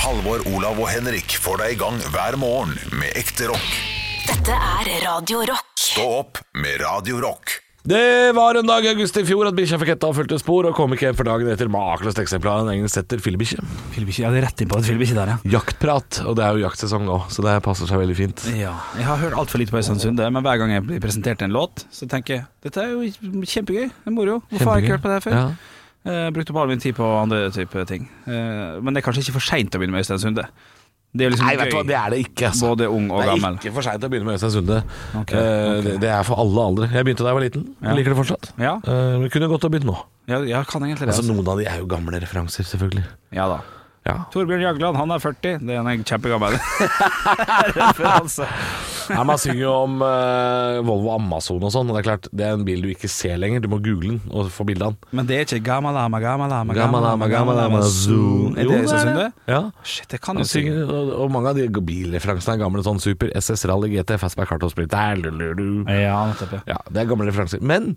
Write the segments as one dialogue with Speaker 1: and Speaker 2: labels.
Speaker 1: Halvor, Olav og Henrik får deg i gang hver morgen med ekte rock.
Speaker 2: Dette er Radio Rock.
Speaker 1: Stå opp med Radio Rock.
Speaker 3: Det var en dag i august i fjor at bikkja fikk etta og fulgte spor, og kom ikke hjem for dagen etter makeløst eksemplar av en egen setter fillebikkje.
Speaker 4: Fyllebikkje. Ja, det er rett inn på et fyllebikkje der, ja.
Speaker 3: Jaktprat, og det er jo jaktsesong nå, så det passer seg veldig fint.
Speaker 4: ja. Jeg har hørt altfor lite på Øystein Sunde, men hver gang jeg blir presentert en låt, så tenker jeg dette er jo kjempegøy. Det er moro. Hvorfor har jeg ikke hørt på det her før?
Speaker 3: Ja.
Speaker 4: Eh, brukte opp all min tid på andre type ting. Eh, men det er kanskje ikke for seint å begynne med Øystein Sunde. Det er jo liksom
Speaker 3: Nei, vet du hva, det er det ikke, altså.
Speaker 4: både ung og
Speaker 3: det er
Speaker 4: gammel.
Speaker 3: ikke for seint å begynne med Øystein Sunde.
Speaker 4: Ok,
Speaker 3: Eh,
Speaker 4: ok.
Speaker 3: Det, det er for alle aldre. Jeg begynte da jeg var liten.
Speaker 4: Ja.
Speaker 3: Jeg liker det fortsatt.
Speaker 4: Ja.
Speaker 3: Eh, men kunne godt ha begynt nå.
Speaker 4: Ja, jeg kan egentlig det.
Speaker 3: Altså,
Speaker 4: Altså.
Speaker 3: noen av de er jo gamle referanser, selvfølgelig.
Speaker 4: Ja da.
Speaker 3: Ja.
Speaker 4: Torbjørn Jagland, han er 40. Det er en kjempegammel referanse.
Speaker 3: Nei, man synger jo om eh, Volvo Amazon og sånn, og det er klart, det er en bil du ikke ser lenger. Du må google den og få bilde av den.
Speaker 4: Men det er ikke Gamalama, Gamalama,
Speaker 3: Gamalama, Gamalama, Zoom.
Speaker 4: Er det
Speaker 3: Jo, det
Speaker 4: Øystein
Speaker 3: er
Speaker 4: Sunde?
Speaker 3: det. Ja.
Speaker 4: Shit, det kan
Speaker 3: Han
Speaker 4: jo synge.
Speaker 3: synger, og, og mange av de bilreferansene er gamle sånn Super SS Rally GT Fastback Hardtop Split der, lu, lu, lu.
Speaker 4: Ja, nettopp. Ja.
Speaker 3: Ja, det er gamle referanser. Men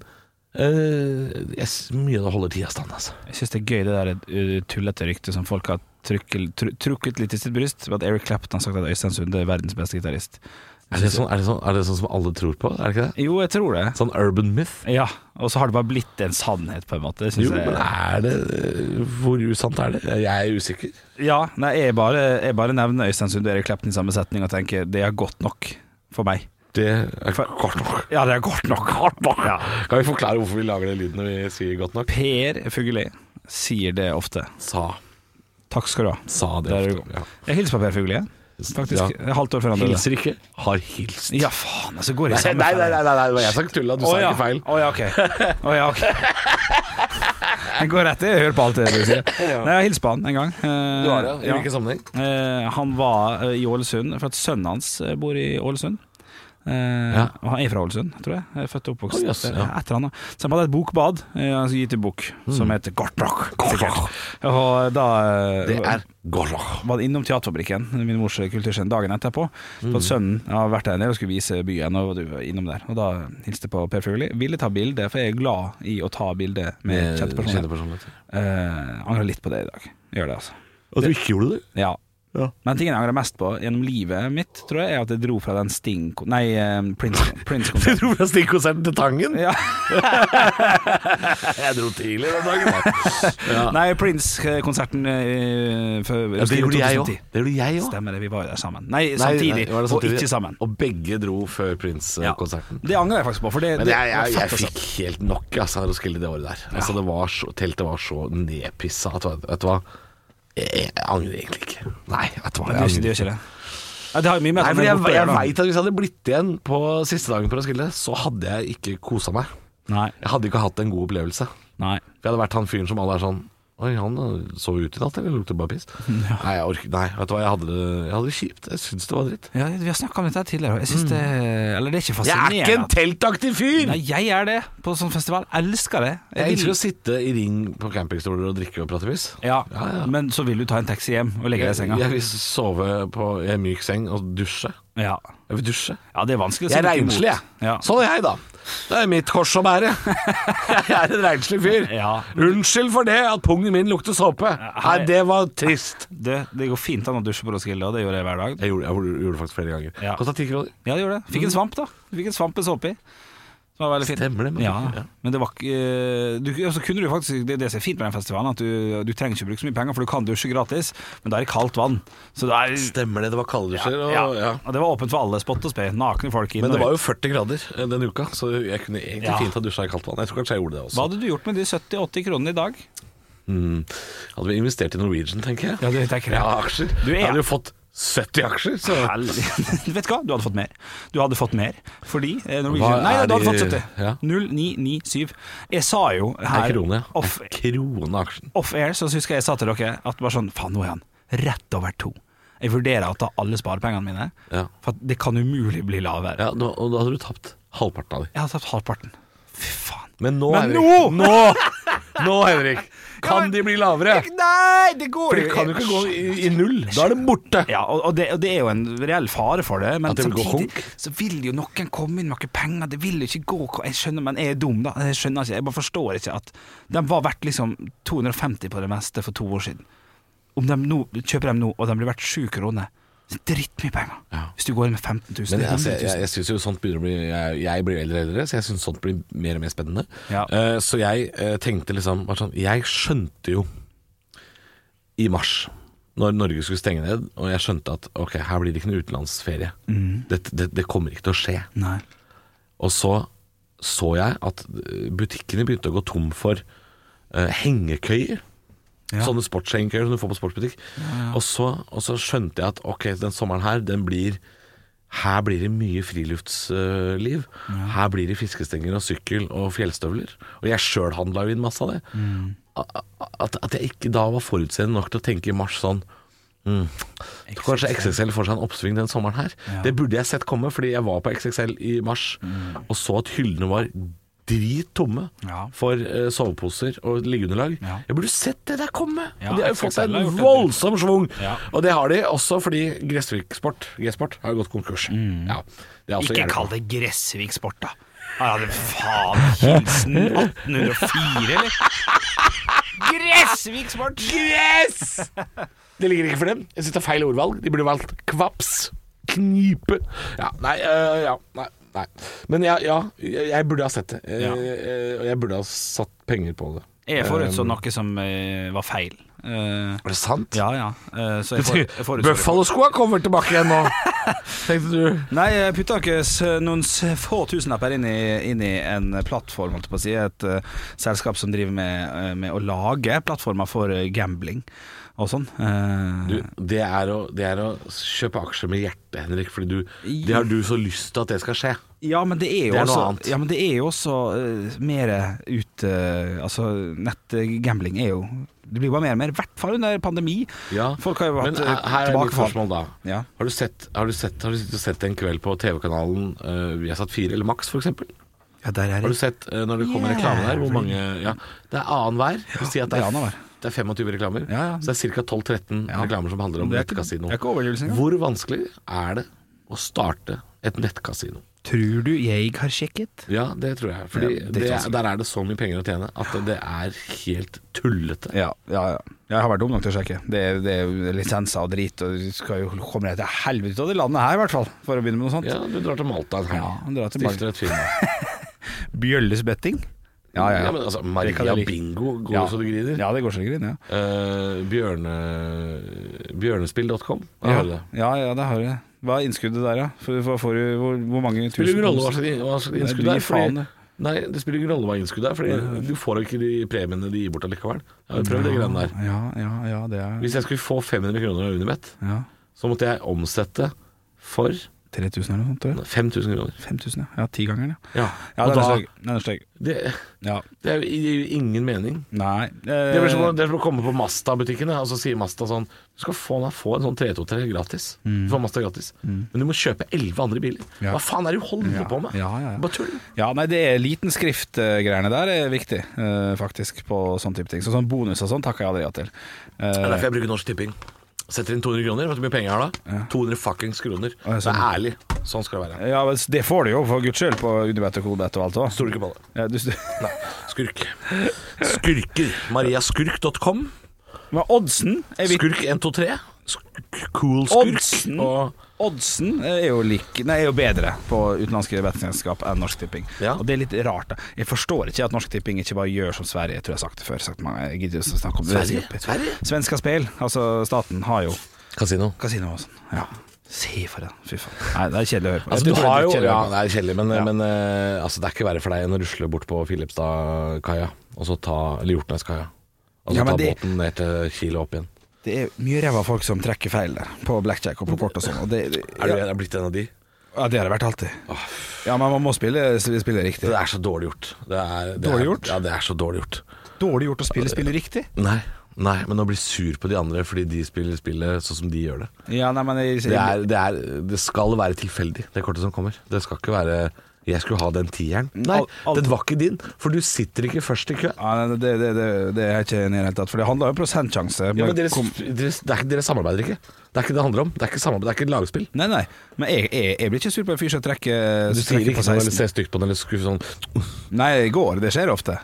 Speaker 3: eh, jeg, s- mye av det holder tida stand, altså.
Speaker 4: Jeg syns det er gøy det der uh, tullete ryktet som folk har trykkel- tru- trukket litt i sitt bryst, ved at Eric Clapton har sagt at Øystein Sunde er verdens beste gitarist.
Speaker 3: Er det, sånn, er, det sånn, er det sånn som alle tror på? Er det ikke det?
Speaker 4: Jo, jeg tror det.
Speaker 3: Sånn urban myth?
Speaker 4: Ja, og så har det bare blitt en sannhet, på en måte. Det synes
Speaker 3: Jo,
Speaker 4: jeg-
Speaker 3: men er det eh, Hvor usant er det? Jeg er usikker.
Speaker 4: Ja, nei, jeg bare, jeg bare nevner Øystein Sunde og Erik Clapton i samme setning og tenker det er godt nok for meg.
Speaker 3: Det er godt nok.
Speaker 4: Ja, det er godt nok. Ja.
Speaker 3: Kan vi forklare hvorfor vi lager den lyden når vi sier godt nok?
Speaker 4: Per Fugelli sier det ofte.
Speaker 3: Sa.
Speaker 4: Takk skal du ha.
Speaker 3: Sa det.
Speaker 4: Der
Speaker 3: ofte,
Speaker 4: er du god. Jeg hilser på Per Fugelli, jeg. faktisk.
Speaker 3: Ja.
Speaker 4: Jeg er Halvt år foran deg.
Speaker 3: Hilser ikke, har hilst.
Speaker 4: Ja, faen, altså går
Speaker 3: Nei,
Speaker 4: jeg
Speaker 3: nei,
Speaker 4: sammen
Speaker 3: nei, nei, nei, det var jeg som tulla. Du sa ikke feil.
Speaker 4: Å ja, ok. Å ja, ok. Jeg går rett i, jeg hører på alt det du sier. Nei, Jeg hilste på han en gang. Eh,
Speaker 3: Du har det, i
Speaker 4: ja.
Speaker 3: hvilken sammenheng?
Speaker 4: Eh, han var eh, i Ålesund, for at sønnen hans eh, bor i Ålesund. Eh,
Speaker 3: Ja.
Speaker 4: Og han er fra Ålesund, tror jeg. jeg er født og oppvokst
Speaker 3: Å, jøss,
Speaker 4: der,
Speaker 3: ja.
Speaker 4: etter han. da. Så han hadde et bokbad, eh, han skulle gi til bok, som heter Gartbrok. sikkert. Og da eh,
Speaker 3: Det er Gorlach.
Speaker 4: var innom Teaterfabrikken, min mors kulturscene, dagen etterpå. For
Speaker 3: Mm.
Speaker 4: at sønnen har vært der nede og skulle vise byen, og du var innom der. Og da hilste jeg på Per Fugelli. Ville ta bilde, for jeg er glad i å ta bilde med kjente personer. Eh, angrer litt på det i dag. Gjør det, altså.
Speaker 3: At du ikke gjorde det?
Speaker 4: Ja.
Speaker 3: Ja.
Speaker 4: Men tingen jeg angrer mest på gjennom livet mitt, tror jeg, er at jeg dro fra den Sting... Nei, eh, Prince-
Speaker 3: Du
Speaker 4: Prince-konserten.
Speaker 3: dro fra stikkonserten til Tangen?
Speaker 4: ja.
Speaker 3: Jeg dro tidlig den dagen. Ja.
Speaker 4: Nei, Prince-konserten eh, for-
Speaker 3: det gjorde jeg
Speaker 4: 2010.
Speaker 3: òg. Det gjorde jeg òg.
Speaker 4: Stemmer det, vi var jo der sammen. Nei, samtidig, og ikke sammen.
Speaker 3: Og begge dro før
Speaker 4: Ja.
Speaker 3: Prince-konserten.
Speaker 4: Det angrer jeg faktisk på. For det,
Speaker 3: Men
Speaker 4: det-
Speaker 3: jeg, jeg,
Speaker 4: det var
Speaker 3: jeg
Speaker 4: fett, altså.
Speaker 3: fikk helt nok altså, av Roskilde det året der. Altså, det var så, teltet var så nedpissa at vet du hva Jeg, jeg angrer egentlig ikke. Nei, vet du hva.
Speaker 4: Men det gjør ikke- det gjør ikke det. Nei, det har jo mye med
Speaker 3: Nei,
Speaker 4: at
Speaker 3: for
Speaker 4: den er
Speaker 3: jeg,
Speaker 4: borte å
Speaker 3: jeg,
Speaker 4: gjøre, da.
Speaker 3: veit at hvis jeg hadde blitt igjen på siste dagen på Roskilde, så hadde jeg ikke kosa meg.
Speaker 4: Nei,
Speaker 3: Jeg hadde ikke hatt en god opplevelse.
Speaker 4: nei.
Speaker 3: For jeg hadde vært han fyren som alle er sånn Oi, han eh, sov ute i natt, eller lukter bare piss? Nei, jeg orker, nei, vet du hva, jeg hadde, det, jeg hadde det kjipt. Jeg syns det var dritt.
Speaker 4: Ja, vi har snakka om dette her tidligere. og Jeg synes det Eller det er ikke
Speaker 3: Mm. Jeg er ikke
Speaker 4: fascinerende.
Speaker 3: en teltaktig fyr!
Speaker 4: Nei, jeg er det på sånn festival. Elsker det.
Speaker 3: Jeg
Speaker 4: vil-
Speaker 3: elsker å sitte i ring på campingstoler og drikke og prate piss.
Speaker 4: ja,
Speaker 3: Ja, ja.
Speaker 4: Men så vil du ta en taxi hjem og legge deg i
Speaker 3: Jeg,
Speaker 4: senga.
Speaker 3: jeg vil sove på i en myk seng og dusje.
Speaker 4: Ja.
Speaker 3: Jeg vil dusje.
Speaker 4: ja, det er vanskelig å si
Speaker 3: Jeg er
Speaker 4: noe imot.
Speaker 3: renslig, jeg.
Speaker 4: Ja.
Speaker 3: Sånn er jeg, da. Det er mitt kors å bære. Jeg er en renslig fyr.
Speaker 4: Ja.
Speaker 3: Unnskyld for det at pungen min lukter såpe. Nei, det var trist.
Speaker 4: Det, det går fint an å dusje på Roskilde, og det gjør jeg hver dag.
Speaker 3: Jeg gjorde, jeg gjorde det faktisk flere ganger.
Speaker 4: Ja.
Speaker 3: Kosta ti kroner.
Speaker 4: Ja, det gjør det. Fikk en svamp, da. Fikk en svamp med såpe i. Som var veldig fint.
Speaker 3: Mm. Stemmer det, men-
Speaker 4: Ja,
Speaker 3: ja.
Speaker 4: men det var ikke eh, du, altså kunne du faktisk, Det er det som er fint med den festivalen, at du, du trenger ikke bruke så mye penger, for du kan dusje gratis, men da er det kaldt vann. Så det er
Speaker 3: Stemmer det, det var kalddusjer.
Speaker 4: ja,
Speaker 3: og- ja.
Speaker 4: Og det var åpent for alle, spott og spe. Nakne folk inn
Speaker 3: Men det
Speaker 4: og
Speaker 3: var
Speaker 4: ut.
Speaker 3: jo 40 grader eh, den uka, så jeg kunne egentlig
Speaker 4: Ja.
Speaker 3: fint ha dusja i kaldt vann. Jeg tror kanskje jeg gjorde det
Speaker 4: Hva
Speaker 3: også. Mm.
Speaker 4: hadde du gjort med de 70-80 kronene i dag?
Speaker 3: Hadde vi investert i Norwegian, tenker jeg.
Speaker 4: Ja, det tenker jeg.
Speaker 3: Ja, aksjer.
Speaker 4: Du er-
Speaker 3: Jeg hadde jo fått 70 aksjer, så
Speaker 4: Hel- Vet du hva, du hadde fått mer. Du hadde fått mer fordi eh,
Speaker 3: Hva
Speaker 4: Norwegian Nei,
Speaker 3: er
Speaker 4: du hadde
Speaker 3: de-
Speaker 4: fått 70.
Speaker 3: ja.
Speaker 4: 0997. Jeg sa jo
Speaker 3: Ei
Speaker 4: her
Speaker 3: krone. ja.
Speaker 4: off,
Speaker 3: Ei krone aksjen.
Speaker 4: off air, så husker jeg jeg sa til dere at bare sånn Faen, nå er han rett over to. Jeg vurderer å ta alle sparepengene mine,
Speaker 3: Ja.
Speaker 4: for at det kan umulig bli lavere.
Speaker 3: Ja, da, og da hadde du tapt halvparten av de.
Speaker 4: Jeg hadde tatt halvparten. Fy faen.
Speaker 3: Men nå,
Speaker 4: Men
Speaker 3: Henrik,
Speaker 4: nå!
Speaker 3: nå, Henrik kan
Speaker 4: men-
Speaker 3: de bli lavere?
Speaker 4: Nei, det
Speaker 3: For
Speaker 4: går
Speaker 3: de kan jo ikke gå i, i null. Da er det borte.
Speaker 4: Ja, og, og, det, og det er jo en reell fare for det, men
Speaker 3: At det vil gå
Speaker 4: samtidig
Speaker 3: konk?
Speaker 4: så vil jo noen komme inn med noen penger. Det vil jo ikke gå ko- Jeg skjønner, men jeg er dum, da. Jeg skjønner ikke, jeg bare forstår ikke at de var verdt liksom 250 på det meste for to år siden. Om de nå, kjøper dem nå, og de blir verdt sju kroner så Drittmye penger.
Speaker 3: Ja.
Speaker 4: Hvis du går inn med 15 000.
Speaker 3: Men
Speaker 4: eller
Speaker 3: altså,
Speaker 4: 100
Speaker 3: jeg,
Speaker 4: 000.
Speaker 3: jeg, jeg synes jo sånt begynner å bli Jeg, jeg blir eldre og eldre, så jeg syns sånt blir mer og mer spennende.
Speaker 4: Ja.
Speaker 3: Eh, så jeg eh, tenkte liksom bare sånn, Jeg skjønte jo i mars, når Norge skulle stenge ned, og jeg skjønte at ok, her blir det ikke noe utenlandsferie.
Speaker 4: Mm.
Speaker 3: Dette- Det, det kommer ikke til å skje.
Speaker 4: Nei.
Speaker 3: Og så så jeg at eh, butikkene begynte å gå tom for eh, hengekøyer.
Speaker 4: Ja.
Speaker 3: Sånne sportshengekøyer som du får på sportsbutikk. Og, så, og så skjønte jeg at ok, den sommeren her, den blir her blir det mye friluftsliv. Her blir det fiskestenger og sykkel og fjellstøvler. Og jeg sjøl handla jo inn masse av det. A- a- At, at jeg ikke da var forutseende nok til å tenke i mars sånn mm, Kanskje XXL får seg en oppsving den sommeren her. Det burde jeg sett komme, fordi jeg var på XXL i mars og så at hyllene var drittomme
Speaker 4: Mm. Ja.
Speaker 3: for eh, soveposer og liggeunderlag.
Speaker 4: Ja.
Speaker 3: Jeg burde sett det der komme!
Speaker 4: Ja,
Speaker 3: og de har jo fått seg
Speaker 4: XXL har
Speaker 3: en
Speaker 4: gjort det.
Speaker 3: voldsom schwung.
Speaker 4: Ja.
Speaker 3: Og det har de også fordi Gressvik Sport, G-Sport har jo gått konkurs. Ja, det er altså også
Speaker 4: Mm. Ikke
Speaker 3: jævlig.
Speaker 4: kall det Gressvik Sport, da. Ja, det faen Hilsen 1804, eller? Gressvik Sport!
Speaker 3: Yes! Det ligger ikke for dem. Jeg syns det er feil ordvalg. De burde valgt kvaps. Knipe. Ja, nei, øh, ja, nei. nei. Men ja, ja, jeg jeg burde ha sett det. Eh,
Speaker 4: Ja.
Speaker 3: eh, Og jeg burde ha satt penger på det.
Speaker 4: Jeg forutså
Speaker 3: Ehm.
Speaker 4: noe som eh, var feil. Eh,
Speaker 3: Er det sant?
Speaker 4: ja, ja. Eh, så jeg, for, jeg forutså det.
Speaker 3: Buffalo-skoa kommer tilbake igjen nå, tenkte du.
Speaker 4: Nei, jeg putta ikke s- noen s- få tusenlapper inn i, inn i en plattform, holdt jeg på å si. Et eh, selskap som driver med, eh, med å lage plattformer for eh, gambling og sånn. Eh,
Speaker 3: Du, det, er å, det er å kjøpe aksjer med hjertet, Henrik. Fordi du, det har du så lyst til at det skal skje.
Speaker 4: Ja, men det er jo
Speaker 3: Det er noe
Speaker 4: også,
Speaker 3: annet.
Speaker 4: ja, men det er jo også eh, mer ut eh, Altså, nettgambling er jo Det blir bare mer og mer, i hvert fall under pandemi.
Speaker 3: Ja,
Speaker 4: Folk har jo hatt
Speaker 3: Men
Speaker 4: eh,
Speaker 3: her her er mitt
Speaker 4: tilbakefall.
Speaker 3: spørsmål da.
Speaker 4: Ja.
Speaker 3: Har du sett, har du sett, har du sittet og sett en kveld på TV-kanalen eh, Vi har satt fire, eller Max for eksempel?
Speaker 4: ja, der er
Speaker 3: Har du
Speaker 4: det.
Speaker 3: sett eh, når det kommer
Speaker 4: Yeah.
Speaker 3: reklame der, hvor mange ja, Det er annen hver. Det vil si at det
Speaker 4: det er annen
Speaker 3: er,
Speaker 4: hver.
Speaker 3: det er 25 reklamer.
Speaker 4: Ja, ja.
Speaker 3: Så det er ca. 12-13
Speaker 4: Ja.
Speaker 3: reklamer som handler om
Speaker 4: Det er ikke-
Speaker 3: nettkasino.
Speaker 4: det er ikke overdrivelse engang.
Speaker 3: Hvor vanskelig er det å starte et nettkasino?
Speaker 4: Tror du jeg har sjekket?
Speaker 3: Ja, det tror jeg. Fordi
Speaker 4: Ja, det er
Speaker 3: det
Speaker 4: ikke vanskelig.
Speaker 3: der er det så mye penger å tjene at det er helt tullete.
Speaker 4: Ja, ja, ja. Jeg har vært dum nok til å sjekke. Det er, det er jo lisenser og drit, og du skal jo komme deg til helvete ut av det landet her, i hvert fall, for å begynne med noe sånt.
Speaker 3: Ja, du drar til Malta en helg.
Speaker 4: Ja, han drar til
Speaker 3: Stifter et firma.
Speaker 4: Bjøllesbetting? Ja, ja, ja.
Speaker 3: men altså,
Speaker 4: Det kan
Speaker 3: Maria
Speaker 4: jeg like.
Speaker 3: Bingo går jo
Speaker 4: Ja.
Speaker 3: så det griner.
Speaker 4: Ja, det går så det griner, ja.
Speaker 3: Eh, bjørne, bjørnespill.com. Der
Speaker 4: Ja,
Speaker 3: har du det.
Speaker 4: ja, ja, det har du. Hva er innskuddet der, da? For, hva får du, hvor, hvor mange
Speaker 3: Det spiller
Speaker 4: tusen
Speaker 3: ingen rolle hva slags hva slags
Speaker 4: Nei,
Speaker 3: innskudd det
Speaker 4: du gir
Speaker 3: er. Fordi,
Speaker 4: faen,
Speaker 3: nei, det spiller ingen rolle hva innskudd det er, Fordi du får ikke de premiene de gir bort allikevel. Jeg har prøvd det greiene der.
Speaker 4: Ja, ja, ja, det er
Speaker 3: Hvis jeg skulle få 500 kroner av Unibet,
Speaker 4: ja.
Speaker 3: så måtte jeg omsette for
Speaker 4: 3000 eller noe sånt? tror jeg.
Speaker 3: 5000 kroner.
Speaker 4: 5000, ja. Ja, Tigangeren, ja.
Speaker 3: Ja,
Speaker 4: Ja,
Speaker 3: og
Speaker 4: den
Speaker 3: da
Speaker 4: er stygg. Den er stygg.
Speaker 3: det,
Speaker 4: Ja.
Speaker 3: det er jo- det gir jo ingen mening.
Speaker 4: Nei eh,
Speaker 3: Det er som å- det er som å komme på Masta-butikken, ja, og så sier Masta sånn Du skal få, deg- få en sånn 323 gratis. Du får Masta gratis. Men du må kjøpe 11 andre biler.
Speaker 4: Mm. Ja.
Speaker 3: Hva faen er det du holder
Speaker 4: Ja,
Speaker 3: på med?
Speaker 4: ja, ja, ja.
Speaker 3: Bare tull.
Speaker 4: Ja, nei, det er liten skrift-greiene der er viktig, eh, faktisk, på sånn type ting. Så sånn bonus og sånn takker jeg aldri ja til.
Speaker 3: Det er
Speaker 4: Eh,
Speaker 3: derfor jeg bruker Norsk Tipping. Setter inn 200 kroner. Vet du hvor mye penger jeg har da? 200 fuckings kroner.
Speaker 4: Å, ja,
Speaker 3: Det er
Speaker 4: sånn. Eh.
Speaker 3: ærlig. Sånn skal det være.
Speaker 4: ja, men det får du jo, for guds skyld, på Unibet og Kodebet og alt òg.
Speaker 3: Stoler ikke på det.
Speaker 4: Ja, du-
Speaker 3: Nei. Skurk. Skurker. Mariaskurk.com.
Speaker 4: men oddsen er viktig.
Speaker 3: Skurk123. Sk- Cool
Speaker 4: Oddsen.
Speaker 3: skurk. Og
Speaker 4: Oddsen er jo, lik, nei, er jo bedre på utenlandske bettingselskap enn Norsk Tipping.
Speaker 3: Ja.
Speaker 4: Og det er litt rart. da. Jeg forstår ikke at Norsk Tipping ikke bare gjør som Sverige, tror jeg har sagt det før. Sagt mange, jeg gidder ikke å snakke om det.
Speaker 3: Sverige? Sverige?
Speaker 4: Svenska Spel, altså staten, har jo
Speaker 3: kasino.
Speaker 4: kasino og sånn. Ja. Se for deg, fy faen. Nei, det er kjedelig å høre på.
Speaker 3: Altså, du
Speaker 4: Jeg tror
Speaker 3: har
Speaker 4: det er
Speaker 3: jo Ja,
Speaker 4: kjedelig å høre på.
Speaker 3: det er kjedelig, men,
Speaker 4: Ja.
Speaker 3: men eh, altså, det er ikke verre for deg enn å rusle bort på Filipstadkaia, og så ta Eller Hjortnæskaia. Og så
Speaker 4: Ja, men
Speaker 3: ta
Speaker 4: det-
Speaker 3: båten ned til Kiel og opp igjen.
Speaker 4: det er mye ræva folk som trekker feil der, på blackjack og på kort og sånn. Og det, det,
Speaker 3: Er du
Speaker 4: ja,
Speaker 3: er blitt en av de?
Speaker 4: ja, det har det vært alltid. Ja, men man må spille, spille riktig.
Speaker 3: Det er så dårlig gjort. Det er, det
Speaker 4: Dårlig
Speaker 3: er,
Speaker 4: gjort?
Speaker 3: Ja, det er så dårlig gjort.
Speaker 4: Dårlig gjort å spille, spille riktig.
Speaker 3: Nei, nei, men å bli sur på de andre fordi de spiller spillet sånn som de gjør det.
Speaker 4: Ja, nei, men jeg,
Speaker 3: Det, er, det, er, det skal være tilfeldig, det kortet som kommer. Det skal ikke være 'jeg skulle ha den tieren'. Nei,
Speaker 4: Al- al-
Speaker 3: den var ikke din, for du sitter ikke først i kø.
Speaker 4: Ja, nei, det, det, det, det er jeg ikke enig i det hele tatt, for det handler jo om prosentsjanse.
Speaker 3: Ja, men
Speaker 4: men
Speaker 3: dere,
Speaker 4: kom-
Speaker 3: dere, det er ikke, dere samarbeider ikke. Det er ikke det det handler om. Det er ikke, samarbeid, det er ikke et lagspill.
Speaker 4: Nei, nei, men jeg, jeg, jeg blir ikke sur på en fyr som trekker
Speaker 3: Du
Speaker 4: som
Speaker 3: sier
Speaker 4: trekker
Speaker 3: ikke
Speaker 4: på
Speaker 3: noe eller sånn.
Speaker 4: 16.
Speaker 3: ser stygt på den eller skuffer sånn
Speaker 4: Nei, det går, det skjer ofte.